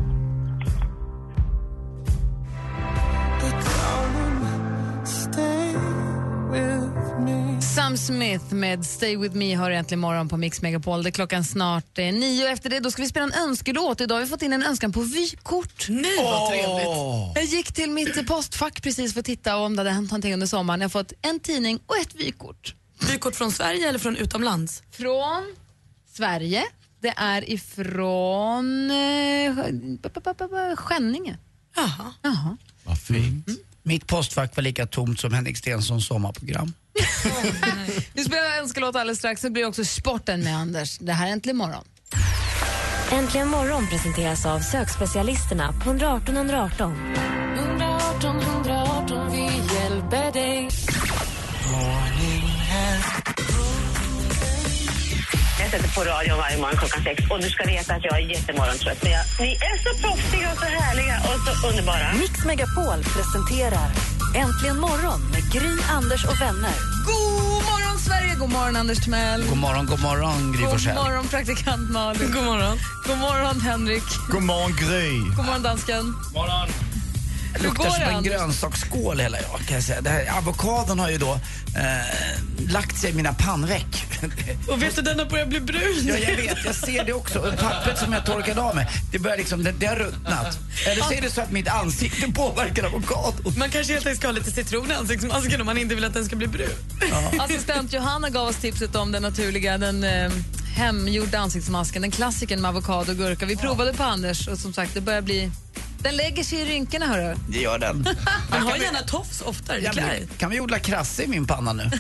[SPEAKER 5] Sam Smith med Stay With Me hör egentligen imorgon på Mix Megapol. Det är klockan snart eh, nio. Efter det då ska vi spela en önskelåt. Idag har vi fått in en önskan på vykort. Nej,
[SPEAKER 9] vad Åh! trevligt.
[SPEAKER 5] Jag gick till mitt postfack precis för att titta om det hade hänt någonting under sommaren. Jag har fått en tidning och ett vykort.
[SPEAKER 9] Vykort från Sverige eller från utomlands?
[SPEAKER 5] Från Sverige. Det är ifrån eh, Skänninge. Jaha. Jaha.
[SPEAKER 8] Vad fint. Mm. Mitt postfack var lika tomt som Henrik Stensons sommarprogram.
[SPEAKER 5] Vi spelar önskelåt alldeles strax. Så blir det också sporten med Anders. Det här är Äntligen morgon.
[SPEAKER 2] Äntligen morgon presenteras av sökspecialisterna på 118 118.
[SPEAKER 1] 118 118, vi hjälper dig.
[SPEAKER 14] Jag sätter på radion varje morgon klockan sex och du ska veta att jag är jättemorgontrött. Men jag, ni är så proffsiga och så härliga och så underbara.
[SPEAKER 1] Mix Megapol presenterar Äntligen morgon med Gry, Anders och vänner.
[SPEAKER 5] God morgon, Sverige! God morgon, Anders Timell.
[SPEAKER 8] God morgon, god morgon Gry
[SPEAKER 5] God
[SPEAKER 8] Forssell.
[SPEAKER 5] morgon, praktikant Malin. God morgon. God morgon, Henrik.
[SPEAKER 6] God morgon Gry.
[SPEAKER 5] God morgon, dansken.
[SPEAKER 8] morgon. Jag
[SPEAKER 5] Hur
[SPEAKER 8] luktar
[SPEAKER 5] går
[SPEAKER 8] som
[SPEAKER 5] det,
[SPEAKER 8] en
[SPEAKER 5] Anders?
[SPEAKER 8] grönsaksskål hela jag kan jag säga. Det här, avokadon har ju då eh, lagt sig i mina pannveck.
[SPEAKER 9] Och vet du, den har börjat bli brun.
[SPEAKER 8] Ja, jag vet. Jag ser det också. Och pappret som jag torkade av med, det börjar liksom, det, det har ruttnat. Eller så är det så att mitt ansikte påverkar avokadon.
[SPEAKER 9] Man kanske helt enkelt ska ha lite citron i ansiktsmasken om man inte vill att den ska bli brun.
[SPEAKER 5] Assistent Johanna gav oss tipset om den naturliga, den eh, hemgjorda ansiktsmasken, den klassikern med avokado och gurka. Vi provade på Anders och som sagt, det börjar bli... Den lägger sig i rynkorna, hörru.
[SPEAKER 8] Det gör den.
[SPEAKER 9] Man har gärna tofs oftare.
[SPEAKER 8] Ja, men, kan vi odla krasse i min panna nu?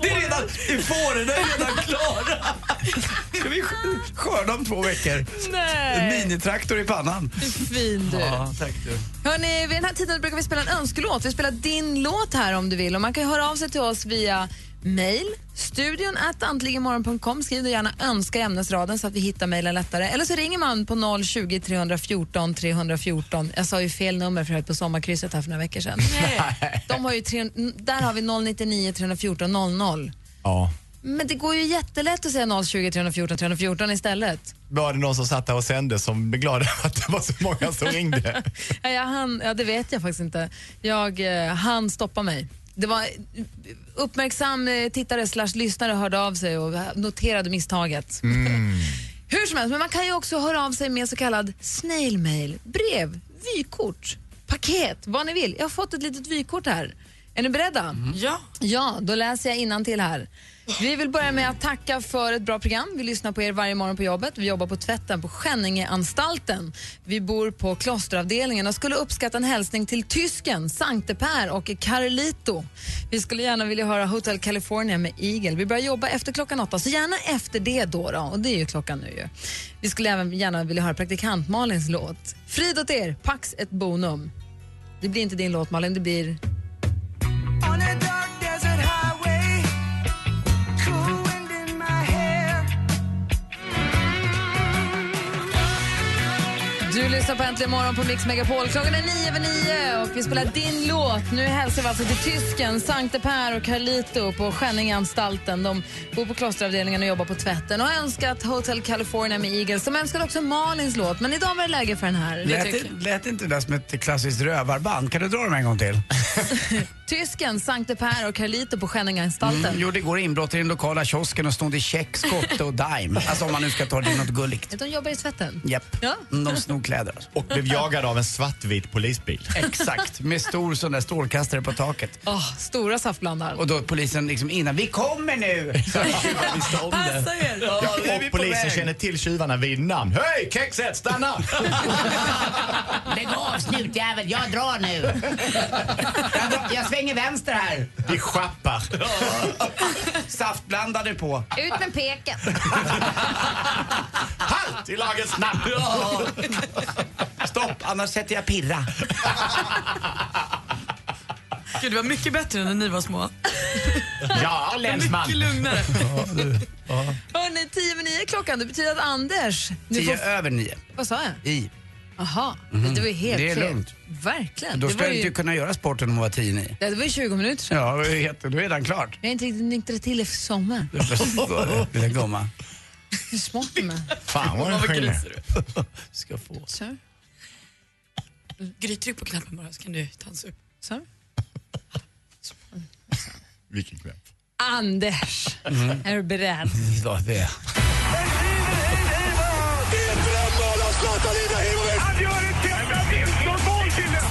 [SPEAKER 8] Det är redan i fåren, den är redan klara. Ska vi sk- skörda om två veckor? En
[SPEAKER 5] Nej,
[SPEAKER 8] minitraktor i pannan.
[SPEAKER 5] fin du.
[SPEAKER 8] Ja, tack du.
[SPEAKER 5] Hörrni, vid den här tiden brukar vi spela en önskelåt. Vi spelar din låt här om du vill. Och man kan ju höra av sig till oss via mail, studion at antligenmorgon.com. Skriv då gärna önska i ämnesraden så att vi hittar mejlen lättare. Eller så ringer man på 020 314 314. Jag sa ju fel nummer för jag höll på sommarkrysset här för några veckor sedan. De har ju 300, där har vi 099 314 00.
[SPEAKER 6] Ja.
[SPEAKER 5] Men det går ju jättelätt att säga 020 314 314 istället.
[SPEAKER 6] Var det någon som satt där och sände som blev glad över att det var så många som ringde?
[SPEAKER 5] Ja, jag hann, ja, det vet jag faktiskt inte. Jag eh, han stoppa mig. Det var eh, uppmärksam eh, tittare slash lyssnare hörde av sig och noterade misstaget. Hur som helst, men man kan ju också höra av sig med så kallad snail mail, brev, vykort, paket, vad ni vill. Jag har fått ett litet vykort här. Är ni beredda? Ja. Ja, då läser jag innan till här. Vi vill börja med att tacka för ett bra program. Vi lyssnar på er varje morgon på jobbet. Vi jobbar på tvätten på Skänningeanstalten. Vi bor på klosteravdelningen och skulle uppskatta en hälsning till tysken, Sankte Per och Carlito. Vi skulle gärna vilja höra Hotel California med Eagle. Vi börjar jobba efter klockan åtta, så gärna efter det då. då. Och det är ju klockan nu ju. Vi skulle även gärna vilja höra praktikant Malins låt. Frid åt er, Pax ett bonum. Det blir inte din låt Malin, det blir...
[SPEAKER 15] On a dark desert highway, cool wind in my hair.
[SPEAKER 5] Du lyssnar på Äntligen morgon på Mix Megapol. Klockan är nio över nio och vi spelar din låt. Nu hälsar vi alltså till tysken, Sankte Per och Carlito på Skänningeanstalten. De bor på klosteravdelningen och jobbar på tvätten och har önskat Hotel California med Eagles. De önskade också Malins låt, men idag var det läge för den här.
[SPEAKER 8] Lät, lät inte det där som ett klassiskt rövarband? Kan du dra dem en gång till?
[SPEAKER 5] Tysken, Sankte Per och Carlito på Skänningeanstalten.
[SPEAKER 8] Mm, gjorde igår inbrott i den lokala kiosken och snodde check, skotte och dime. Alltså om man nu ska ta det i något gulligt.
[SPEAKER 5] De jobbar i tvätten.
[SPEAKER 8] Japp.
[SPEAKER 5] Ja.
[SPEAKER 8] Mm, De snor kläder. Alltså.
[SPEAKER 6] Och blev jagade av en svartvit polisbil.
[SPEAKER 8] Exakt, med stor sån där strålkastare på taket.
[SPEAKER 5] Åh, stora saftblandar.
[SPEAKER 8] Och då polisen liksom innan, vi kommer nu! Så att tjuvarna visste om det.
[SPEAKER 5] Passa er.
[SPEAKER 8] Ja, nu är vi
[SPEAKER 6] och
[SPEAKER 8] på
[SPEAKER 6] polisen
[SPEAKER 8] väg.
[SPEAKER 6] känner till tjuvarna vid namn. Hej, kexet, stanna!
[SPEAKER 16] Lägg av snutjävel, jag drar nu. Jag, drar- jag svänger vänster här.
[SPEAKER 6] Vi schappar.
[SPEAKER 8] Saftblandade på.
[SPEAKER 5] Ut med peken.
[SPEAKER 8] Halt i lagens namn! Stopp, annars sätter jag pirra.
[SPEAKER 9] Gud, det var mycket bättre än när ni var små.
[SPEAKER 6] Ja, länsman.
[SPEAKER 9] Mycket lugnare.
[SPEAKER 5] Hörrni, tio över nio klockan. Det betyder att Anders... nu
[SPEAKER 8] Tio
[SPEAKER 5] får-
[SPEAKER 8] över nio.
[SPEAKER 5] Vad sa jag?
[SPEAKER 8] I.
[SPEAKER 5] Aha,
[SPEAKER 8] Mhm.
[SPEAKER 5] det var ju helt
[SPEAKER 8] Det är
[SPEAKER 5] fel.
[SPEAKER 8] lugnt.
[SPEAKER 5] Verkligen.
[SPEAKER 8] Då
[SPEAKER 5] Det
[SPEAKER 8] skulle
[SPEAKER 5] var
[SPEAKER 8] jag inte
[SPEAKER 5] ju,
[SPEAKER 8] kunna göra sporten om hon var tio nio.
[SPEAKER 5] det var ju 20 minuter sedan.
[SPEAKER 8] Ja, det är jätte- då är redan klart.
[SPEAKER 5] Jag har inte riktigt nyktrat till efter sommaren.
[SPEAKER 8] Lilla gumman.
[SPEAKER 5] Hur smart du är.
[SPEAKER 6] Fan vad den skiner.
[SPEAKER 8] Ska få.
[SPEAKER 5] Så.
[SPEAKER 9] Gry, tryck på knappen bara så kan du dansa upp.
[SPEAKER 5] Så.
[SPEAKER 6] Vilken kväll.
[SPEAKER 5] Anders, är du beredd?
[SPEAKER 8] Vad Mm. det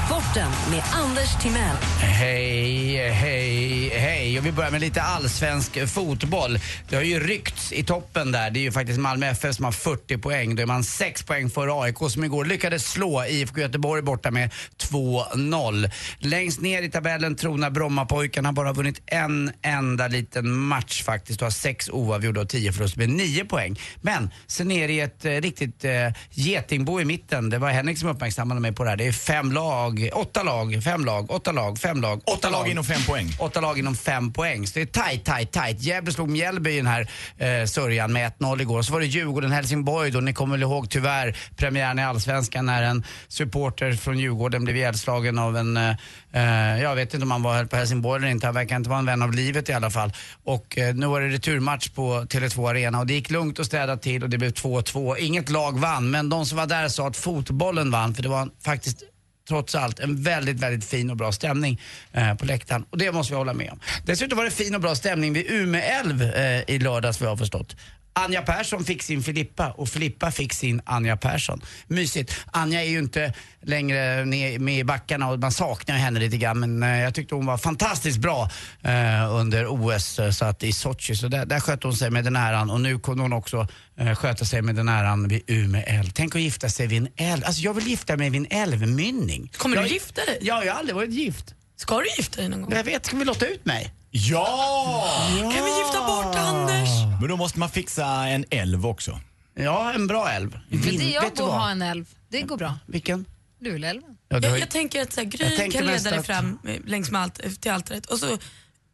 [SPEAKER 1] Sporten med Anders Timell.
[SPEAKER 8] Hej, hej, hej. Och vi börjar med lite allsvensk fotboll. Det har ju ryckts i toppen där. Det är ju faktiskt Malmö FF som har 40 poäng. Då är man 6 poäng före AIK som igår lyckades slå IFK Göteborg borta med 2-0. Längst ner i tabellen tronar Brommapojkarna bara vunnit en enda liten match faktiskt och har sex oavgjorda och 10 förluster med 9 poäng. Men sen är det ju ett eh, riktigt eh, getingbo i mitten. Det var Henrik som uppmärksammade mig på det här. Det är fem lag, åtta lag, fem lag, åtta lag, fem lag.
[SPEAKER 6] Åtta lag inom fem poäng.
[SPEAKER 8] Åtta lag inom fem poäng. Så det är tajt, tajt, tajt. Gävle slog Mjällby i den här eh, sörjan med 1-0 igår. Så var det Djurgården-Helsingborg då. Ni kommer väl ihåg tyvärr premiären i Allsvenskan när en supporter från Djurgården blev ihjälslagen av en, eh, eh, jag vet inte om han var på Helsingborg eller inte. Han verkar inte vara en vän av livet i alla fall. Och eh, nu var det returmatch på Tele2 Arena och det gick lugnt och städat till och det blev 2-2. Inget lag vann, men de som var där sa att fotbollen vann för det var en- faktiskt trots allt en väldigt, väldigt fin och bra stämning eh, på läktaren. Och det måste vi hålla med om. Dessutom var det fin och bra stämning vid Ume älv eh, i lördags vad jag har förstått. Anja Persson fick sin Filippa och Filippa fick sin Anja Persson. Mysigt. Anja är ju inte längre ner- med i backarna och man saknar ju henne lite grann men eh, jag tyckte hon var fantastiskt bra eh, under OS eh, så att i Sochi. Så där, där skötte hon sig med den äran och nu kunde hon också eh, sköta sig med den äran vid Ume älv. Tänk att gifta sig vid en älv. Alltså jag vill gifta mig vid en älvmynning.
[SPEAKER 9] Kommer
[SPEAKER 8] jag,
[SPEAKER 9] du gifta dig?
[SPEAKER 8] Ja, jag har aldrig varit gift.
[SPEAKER 9] Ska du gifta dig någon gång?
[SPEAKER 8] Jag vet, ska vi låta ut mig?
[SPEAKER 6] Ja!
[SPEAKER 9] Kan vi gifta bort Anders?
[SPEAKER 6] Men då måste man fixa en älv också.
[SPEAKER 8] Ja, en bra älv.
[SPEAKER 9] Mm.
[SPEAKER 5] Men det jag bor ha en älv. Det går bra.
[SPEAKER 8] Vilken?
[SPEAKER 5] Luleälven.
[SPEAKER 8] Ja,
[SPEAKER 9] jag, jag tänker att så här,
[SPEAKER 5] Jag
[SPEAKER 9] Gry
[SPEAKER 5] tänker
[SPEAKER 9] kan
[SPEAKER 5] mest
[SPEAKER 9] leda dig
[SPEAKER 5] att-
[SPEAKER 9] fram eh, längs med allt, till altaret och så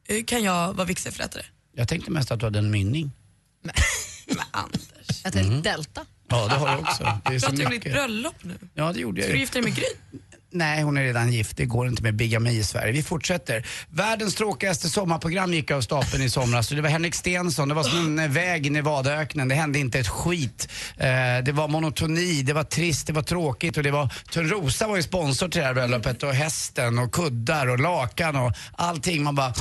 [SPEAKER 9] eh, kan jag vara vigselförrättare.
[SPEAKER 8] Jag tänkte mest att du hade en mynning.
[SPEAKER 5] Ett helt delta.
[SPEAKER 8] Mm. Ja, det har jag också. Det är så
[SPEAKER 9] Pratar om ditt
[SPEAKER 8] mycket.
[SPEAKER 9] bröllop nu?
[SPEAKER 8] Ja, det gjorde jag
[SPEAKER 9] Ska
[SPEAKER 8] ju.
[SPEAKER 9] du gifta dig med Gry?
[SPEAKER 8] Nej, hon är redan gift. Det går inte med bigami i Sverige. Vi fortsätter. Världens tråkigaste sommarprogram gick av stapeln i somras. Det var Henrik Stenson, det var som en väg i Nevadaöknen. Det hände inte ett skit. Eh, det var monotoni, det var trist, det var tråkigt och det var... Törnrosa var ju sponsor till det här bröllopet och hästen och kuddar och lakan och allting. Man bara...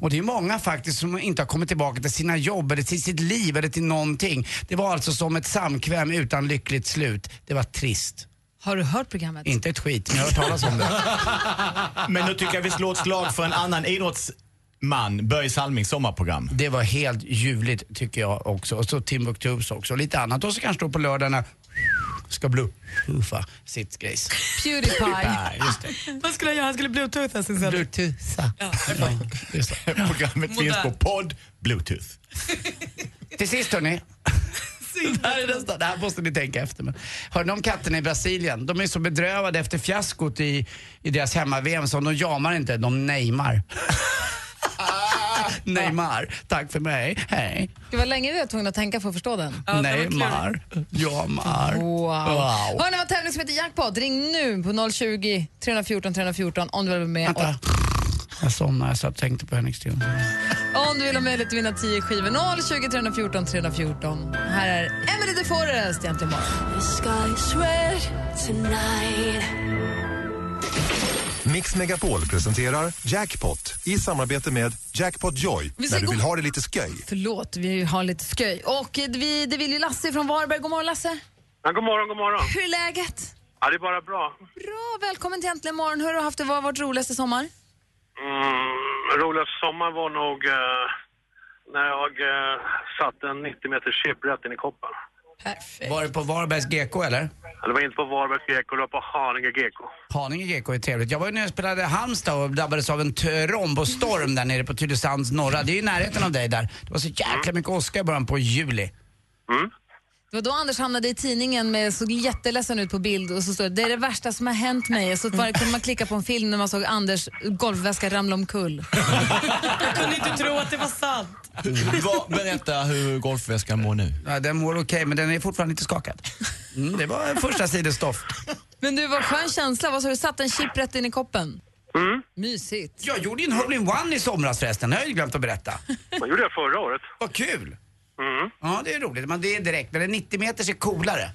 [SPEAKER 8] Och det är många faktiskt som inte har kommit tillbaka till sina jobb eller till sitt liv eller till någonting. Det var alltså som ett samkväm utan lyckligt slut. Det var trist.
[SPEAKER 5] Har du hört programmet?
[SPEAKER 8] Inte ett skit, men jag har hört talas om det.
[SPEAKER 6] Men då tycker jag vi slår ett slag för en annan idrottsman, Börje Salmings sommarprogram.
[SPEAKER 8] Det var helt ljuvligt tycker jag också. Och så Timbuktus också. Och lite annat också kanske då på lördagarna. Ska bluetoofa sitt grejs.
[SPEAKER 5] Pewdiepie.
[SPEAKER 8] Ja, just det.
[SPEAKER 9] Vad skulle jag göra? Han skulle bluetootha sin söner.
[SPEAKER 8] Bluetootha.
[SPEAKER 6] Programmet finns på podd Bluetooth.
[SPEAKER 8] Till sist hörni. Det här, är nästan, det här måste ni tänka efter. Men. Hörde ni om katterna i Brasilien? De är så bedrövade efter fiaskot i, i deras hemma-VM så de jamar inte, de neymar. neymar, tack för mig, hej.
[SPEAKER 5] Det var länge vi var tvungna att tänka för att förstå den.
[SPEAKER 8] neymar, jamar.
[SPEAKER 5] Wow. Hörni, vi har en tävling som heter Jackpot. Ring nu på 020 314 314 om du vill vara med och,
[SPEAKER 8] Vänta. Jag somnade, jag satt och tänkte på Henrik Stenson.
[SPEAKER 5] om du vill ha möjlighet att vinna 10 skivor. 020 314 314. Här är Emily de Forest, Egentligen morgon.
[SPEAKER 12] Mix Megapol presenterar Jackpot i samarbete med Jackpot Joy
[SPEAKER 5] Vi ska
[SPEAKER 12] när du
[SPEAKER 5] gå-
[SPEAKER 12] vill ha det lite sköj.
[SPEAKER 5] Förlåt, vi har lite skoj. Och eh, vi, det vill ju Lasse från Varberg. God morgon Lasse.
[SPEAKER 17] Men god morgon, god morgon.
[SPEAKER 5] Hur är läget?
[SPEAKER 17] Ja, det är bara bra.
[SPEAKER 5] Bra, välkommen till Äntligen morgon. Hur har du haft det? Vad har varit roligaste sommar?
[SPEAKER 17] Mm, roligaste sommar var nog eh, när jag eh, satte en 90 meters chiprätten i koppen.
[SPEAKER 8] Var det på Varbergs GK eller?
[SPEAKER 17] Det var inte på Varbergs GK, det var på Haninge GK.
[SPEAKER 8] Haninge GK är trevligt. Jag var ju nere och spelade Halmstad och drabbades av en tromb och storm där nere på Tylösands norra. Det är ju i närheten av dig där. Det var så jäkla mycket åska i början på juli. Mm.
[SPEAKER 5] Det var då Anders hamnade i tidningen med såg jätteledsen ut på bild och så står det det är det värsta som har hänt mig. Så bara kunde man klicka på en film när man såg Anders golfväska ramla omkull.
[SPEAKER 9] Jag kunde inte tro att det var sant.
[SPEAKER 8] berätta hur golfväskan mår nu. Ja, den mår okej, men den är fortfarande lite skakad. Mm, det var första sidestoff.
[SPEAKER 5] Men du, vad skön känsla. Vad sa du? Satt en chip rätt in i koppen?
[SPEAKER 17] Mm.
[SPEAKER 5] Mysigt.
[SPEAKER 8] Jag gjorde ju en hole-in-one i somras förresten, det har jag ju glömt att berätta.
[SPEAKER 17] Det gjorde jag förra året.
[SPEAKER 8] Vad kul!
[SPEAKER 17] Mm.
[SPEAKER 8] Ja, det är roligt. Men det är direkt, men en 90 meters är coolare.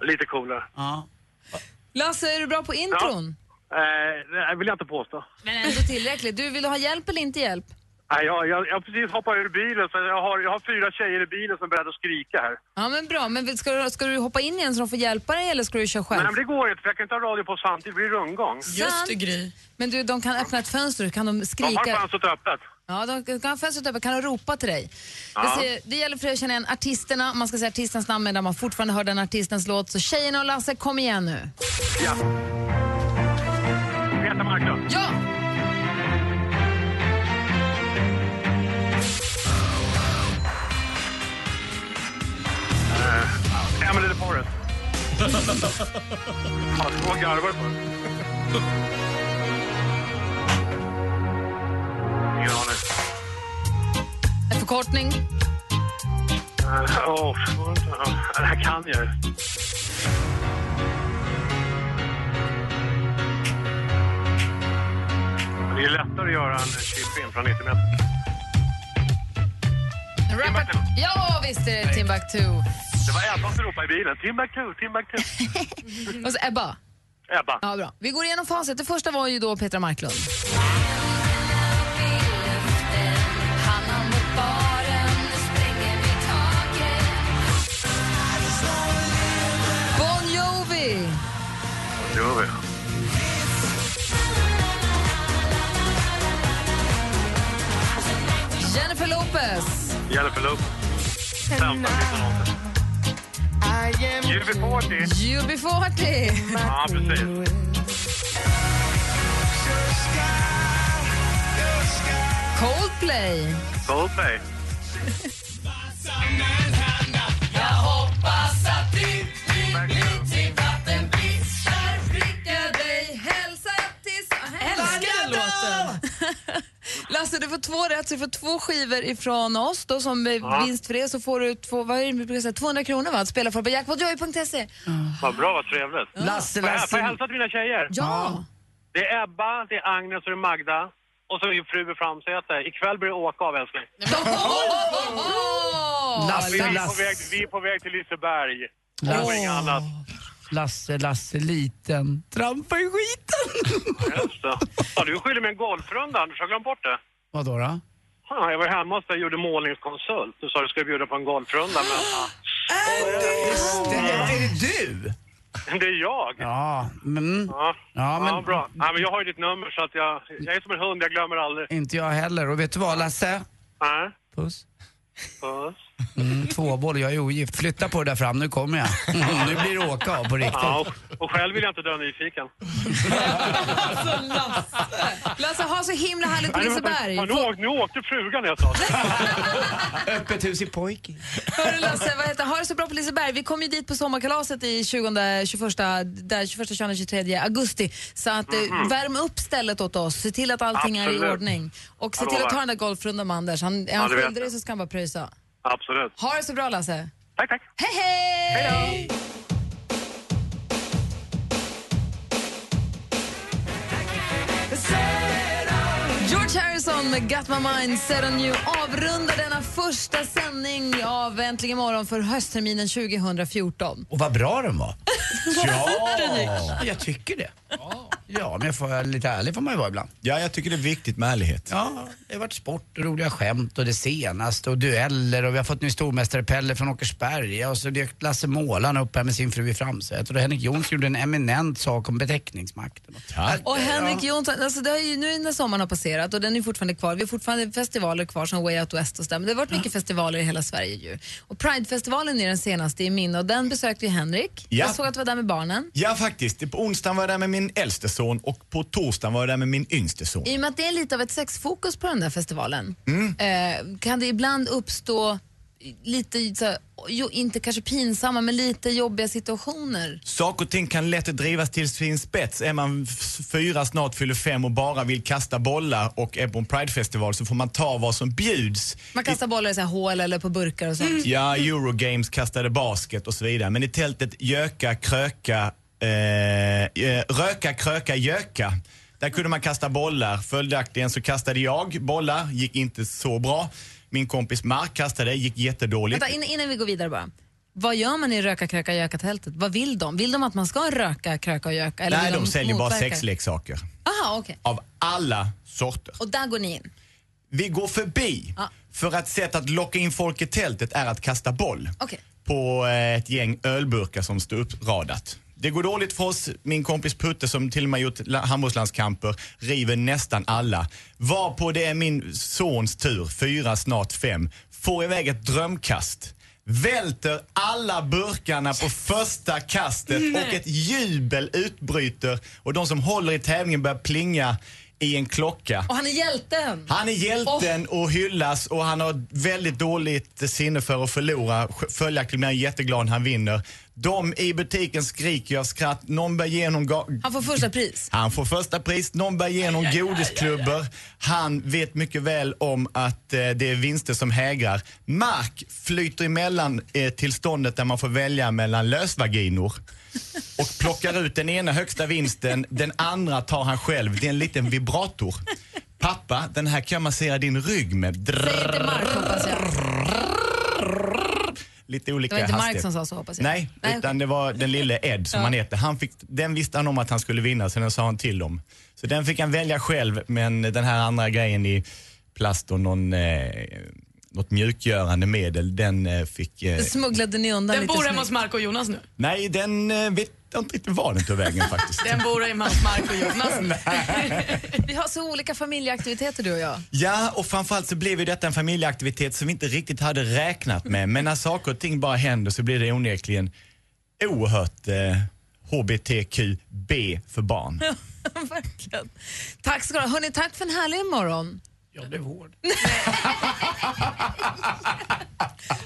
[SPEAKER 17] Lite coolare.
[SPEAKER 8] Ja.
[SPEAKER 5] Lasse, är du bra på intron?
[SPEAKER 17] Eh, det vill jag inte påstå.
[SPEAKER 5] Men ändå tillräckligt. Du, vill du ha hjälp eller inte hjälp?
[SPEAKER 17] Nej, jag, jag, jag har precis hoppat ur bilen, så jag har, jag har fyra tjejer i bilen som är beredda att skrika här.
[SPEAKER 5] Ja, men bra. Men vill- ska du, ska du hoppa in igen så de får hjälpa dig eller ska du köra
[SPEAKER 17] Nej,
[SPEAKER 5] själv?
[SPEAKER 17] men det går inte, för jag kan inte ha radio på samtidigt, det blir rundgång.
[SPEAKER 5] Sant. Men du, de kan öppna ett fönster, kan de
[SPEAKER 17] De har
[SPEAKER 5] skrika?
[SPEAKER 17] fönstret öppet.
[SPEAKER 5] Ja, de kan ha fönstret öppet, kan de ropa till dig?
[SPEAKER 17] Ja.
[SPEAKER 5] Det, ser, det gäller för dig att känna igen artisterna, man ska säga artistens namn medan man fortfarande hör den artistens låt. Så tjejerna och Lasse, kom igen nu.
[SPEAKER 17] Ja. Greta Marklund.
[SPEAKER 5] Ja!
[SPEAKER 17] Uh, Emily the Forest. Ja, två garvar på den. Ingen aning.
[SPEAKER 5] En förkortning.
[SPEAKER 17] Eh, Åh, oh, det här kan jag ju. Det är ju lättare att göra en chip in från 90 meter.
[SPEAKER 5] En rapper. Ja, visst är det Timbuktu.
[SPEAKER 17] Det var Ebba som ropade i bilen. Timbuktu, Timbuktu.
[SPEAKER 5] Och så Ebba.
[SPEAKER 17] Ebba.
[SPEAKER 5] Ja, bra. Vi går igenom facit. Det första var ju då Petra Marklund. Bon Jovi!
[SPEAKER 17] Det gör vi.
[SPEAKER 5] Jennifer Lopez.
[SPEAKER 17] Jennifer Lopez. 15, 19 år. UB40.
[SPEAKER 5] UB40.
[SPEAKER 17] Ja, precis.
[SPEAKER 5] Coldplay.
[SPEAKER 17] Coldplay.
[SPEAKER 15] Jag hoppas att du blir blid till vattenbrist.
[SPEAKER 5] Skickar dig hälsa tills... Älskar låten! Lasse, du får två rätt, så du får två skivor ifrån oss då, som
[SPEAKER 17] Ja.
[SPEAKER 5] eh, vinst för det. Så får du två, vad är det, vi brukar säga, 200 kronor va, att spela för på jackpotjoy.se.
[SPEAKER 17] Vad bra, vad trevligt.
[SPEAKER 8] Lasse,
[SPEAKER 17] Får jag-
[SPEAKER 8] Lasse.
[SPEAKER 17] Får jag hälsa till mina tjejer?
[SPEAKER 5] Ja.
[SPEAKER 17] Det är Ebba, det är Agnes och det är Magda. Och så är ju fru vid framsäte. Ikväll blir det åka av älskling. vi, är på väg, vi är på väg till Liseberg. Det var inget annat.
[SPEAKER 8] Lasse, Lasse liten. Trampa i skiten!
[SPEAKER 17] Just det. Ja, du skyller mig en golfrunda, Anders. Har jag glömt bort det?
[SPEAKER 8] Vadå då?
[SPEAKER 17] Ja, jag var hemma hos dig och gjorde målningskonsult. Du sa att du skulle bjuda på en golfrunda, men...
[SPEAKER 8] Det, är det du?
[SPEAKER 17] Det är jag.
[SPEAKER 8] Ja, mm.
[SPEAKER 17] Ja,
[SPEAKER 8] Ja, men-
[SPEAKER 17] bra. Ja, men jag har ju ditt nummer så att jag, jag är som en hund, jag glömmer aldrig.
[SPEAKER 8] Inte jag heller. Och vet du vad Lasse?
[SPEAKER 17] Nej.
[SPEAKER 8] Puss.
[SPEAKER 17] Puss.
[SPEAKER 8] Mm, tvåboll, jag är ogift. Flytta på det där fram, nu kommer jag. Mm, nu blir det åka av på riktigt.
[SPEAKER 17] Ja, och- och själv vill jag inte dö nyfiken.
[SPEAKER 5] Lasse, ha så himla härligt på
[SPEAKER 17] Nej, men-
[SPEAKER 5] Liseberg.
[SPEAKER 17] Ja, nu, åk- nu åkte frugan när jag sa det.
[SPEAKER 8] Öppet hus i pojken.
[SPEAKER 5] Hörru Lasse, vad heter, ha det så bra på Liseberg. Vi kommer ju dit på sommarkalaset i 20, 21, där, 21, 22, 23 augusti. Så att, eh,
[SPEAKER 2] Mhm.
[SPEAKER 5] värm upp stället åt oss, se till att allting är i
[SPEAKER 17] Absolut.
[SPEAKER 5] ordning. Och se
[SPEAKER 17] Jag
[SPEAKER 5] till att
[SPEAKER 17] lovar.
[SPEAKER 5] ta den där golfrundan med Anders. Han, är
[SPEAKER 17] Ja,
[SPEAKER 5] han
[SPEAKER 17] det vet
[SPEAKER 5] skyldig
[SPEAKER 17] jag.
[SPEAKER 5] dig så ska han bara pröjsa.
[SPEAKER 17] Absolut.
[SPEAKER 5] Ha det så bra Lasse.
[SPEAKER 17] Tack, tack.
[SPEAKER 5] Hej, hej! hej George Harrison med Got My Mind Set On You avrundar denna första sändning av Äntligen Morgon för höstterminen 2014.
[SPEAKER 8] Och vad bra den var.
[SPEAKER 5] Vad fort den gick.
[SPEAKER 8] jag tycker det. Ja, men jag får vara lite ärlig får man ju vara ibland.
[SPEAKER 6] Ja, jag tycker det är viktigt med ärlighet.
[SPEAKER 8] Ja, det har varit sport och roliga skämt och det senaste och dueller och vi har fått ny stormästare Pelle från Åkersberga och så dök Lasse Målan upp här med sin fru i Framsätet och Henrik Jonsson gjorde en eminent sak om beteckningsmakten.
[SPEAKER 5] Och Henrik Jonsson, alltså det har ju, nu när sommaren har passerat och den är fortfarande kvar, vi har fortfarande festivaler kvar som Way Out West och sådär, men det har varit mycket festivaler i hela Sverige ju. Och Pridefestivalen är den senaste i minne och den besökte ju Henrik.
[SPEAKER 6] Ja.
[SPEAKER 5] Jag såg att du var där med barnen.
[SPEAKER 6] Ja, faktiskt. På onsdagen var jag där med min äldste son och på torsdagen var jag där med min yngste son.
[SPEAKER 5] I och med att det är lite av ett sexfokus på den där festivalen
[SPEAKER 6] Mm.
[SPEAKER 5] eh, kan det ibland uppstå lite, så här, jo, inte kanske pinsamma, men lite jobbiga situationer.
[SPEAKER 6] Saker och ting kan lätt drivas till sin spets. Är man f- fyra, snart fyller fem och bara vill kasta bollar och är på en pridefestival så får man ta vad som bjuds.
[SPEAKER 5] Man kastar bollar i så här hål eller på burkar och sånt.
[SPEAKER 6] Ja, Eurogames kastade basket och så vidare. Men i tältet Jöka, Kröka, eh, eh, Röka, Kröka, Jöka. Där kunde man kasta bollar. Följaktligen så kastade jag bollar, gick inte så bra. Min kompis Mark kastade, gick jättedåligt.
[SPEAKER 5] Vänta, innan, innan vi går vidare bara. Vad gör man i röka, kröka, göka-tältet? Vad vill de? Vill de att man ska röka, kröka och göka? Eller
[SPEAKER 6] Nej,
[SPEAKER 5] vill
[SPEAKER 6] de säljer bara
[SPEAKER 5] motverka?
[SPEAKER 6] sexleksaker.
[SPEAKER 5] Aha, okej.
[SPEAKER 6] Av alla sorter.
[SPEAKER 5] Och där går ni in?
[SPEAKER 6] Vi går förbi.
[SPEAKER 5] Ja.
[SPEAKER 6] För att sätt att locka in folk i tältet är att kasta boll.
[SPEAKER 5] Okej.
[SPEAKER 6] på eh, ett gäng ölburkar som står uppradat. Det går dåligt för oss. Min kompis Putte som till och med gjort la- handbollslandskamper river nästan alla. Var på det är min sons tur, fyra, snart fem, får iväg ett drömkast. Välter alla burkarna på första kastet och ett jubel utbryter och de som håller i tävlingen börjar plinga i en klocka.
[SPEAKER 5] Och han är hjälten?
[SPEAKER 6] Han är hjälten och hyllas och han har väldigt dåligt sinne för att förlora. Sj- Följaktligen blir han jätteglad när han vinner. De i butiken skriker av skratt. Någon bär igenom ga-
[SPEAKER 5] Han får första pris.
[SPEAKER 6] han får första pris, någon bär igenom godisklubbor. Han vet mycket väl om att eh, det är vinster som hägrar. Mark flyter emellan eh, tillståndet där man får välja mellan lösvaginor och plockar ut den ena högsta vinsten, den andra tar han själv. Det är en liten vibrator. Pappa, den här kan jag massera din rygg med. Drrrr,
[SPEAKER 5] Det är Mark, hoppas jag.
[SPEAKER 6] lite olika
[SPEAKER 5] Det var inte Mark
[SPEAKER 6] hastighet.
[SPEAKER 5] som sa så, hoppas jag.
[SPEAKER 6] Nej,
[SPEAKER 5] Nej,
[SPEAKER 6] utan det var den lille Ed som
[SPEAKER 5] Ja.
[SPEAKER 6] han heter. Han fick, den visste han om att han skulle vinna, så den sa han till dem. Så den fick han välja själv, men den här andra grejen i plast och någon, eh, något mjukgörande medel, den eh, fick... Eh,
[SPEAKER 5] Det smugglade ni undan
[SPEAKER 9] Den
[SPEAKER 5] lite
[SPEAKER 9] bor hemma
[SPEAKER 5] snyggt.
[SPEAKER 9] hos Marco och Jonas nu.
[SPEAKER 6] nej, den eh, vet jag inte riktigt var den tog vägen faktiskt.
[SPEAKER 9] Den bor hemma hos Marco och Jonas.
[SPEAKER 5] Vi har så olika familjeaktiviteter du och jag.
[SPEAKER 6] Ja, och framförallt så blev ju detta en familjeaktivitet som vi inte riktigt hade räknat med. Men när saker och ting bara händer så blir det onekligen oerhört eh, HBTQB för barn.
[SPEAKER 5] Verkligen. Tack ska du ha. Hörrni, tack för en härlig morgon.
[SPEAKER 8] Jag blev hård.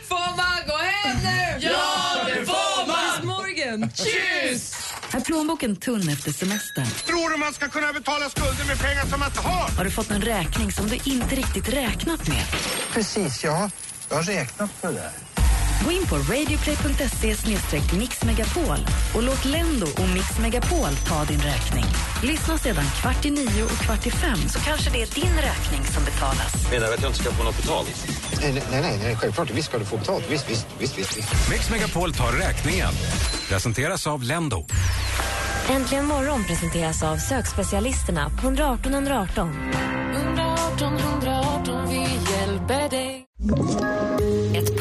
[SPEAKER 5] Får man gå hem nu?
[SPEAKER 15] Ja, det får man!
[SPEAKER 5] Miss Morgan.
[SPEAKER 15] Tjus!
[SPEAKER 1] Är plånboken tunn efter semestern?
[SPEAKER 15] Tror du man ska kunna betala skulder med pengar som man inte har?
[SPEAKER 1] Har du fått en räkning som du inte riktigt räknat med?
[SPEAKER 11] Precis, ja. Jag har räknat på det där.
[SPEAKER 1] Gå in på radioplay.se mixmegapol och låt Lendo och Mix Megapol ta din räkning. Lyssna sedan kvart i nio och kvart i fem så kanske det är din räkning som betalas.
[SPEAKER 11] Menar du att jag inte ska få något betalt? Nej, nej, nej, nej självklart. Visst ska du få betalt. Visst, visst, visst, visst. visst.
[SPEAKER 18] Mix Megapol tar räkningen. Presenteras av Lendo.
[SPEAKER 2] Äntligen morgon presenteras av sökspecialisterna på 118 118.
[SPEAKER 1] 118 118, vi hjälper dig. Ett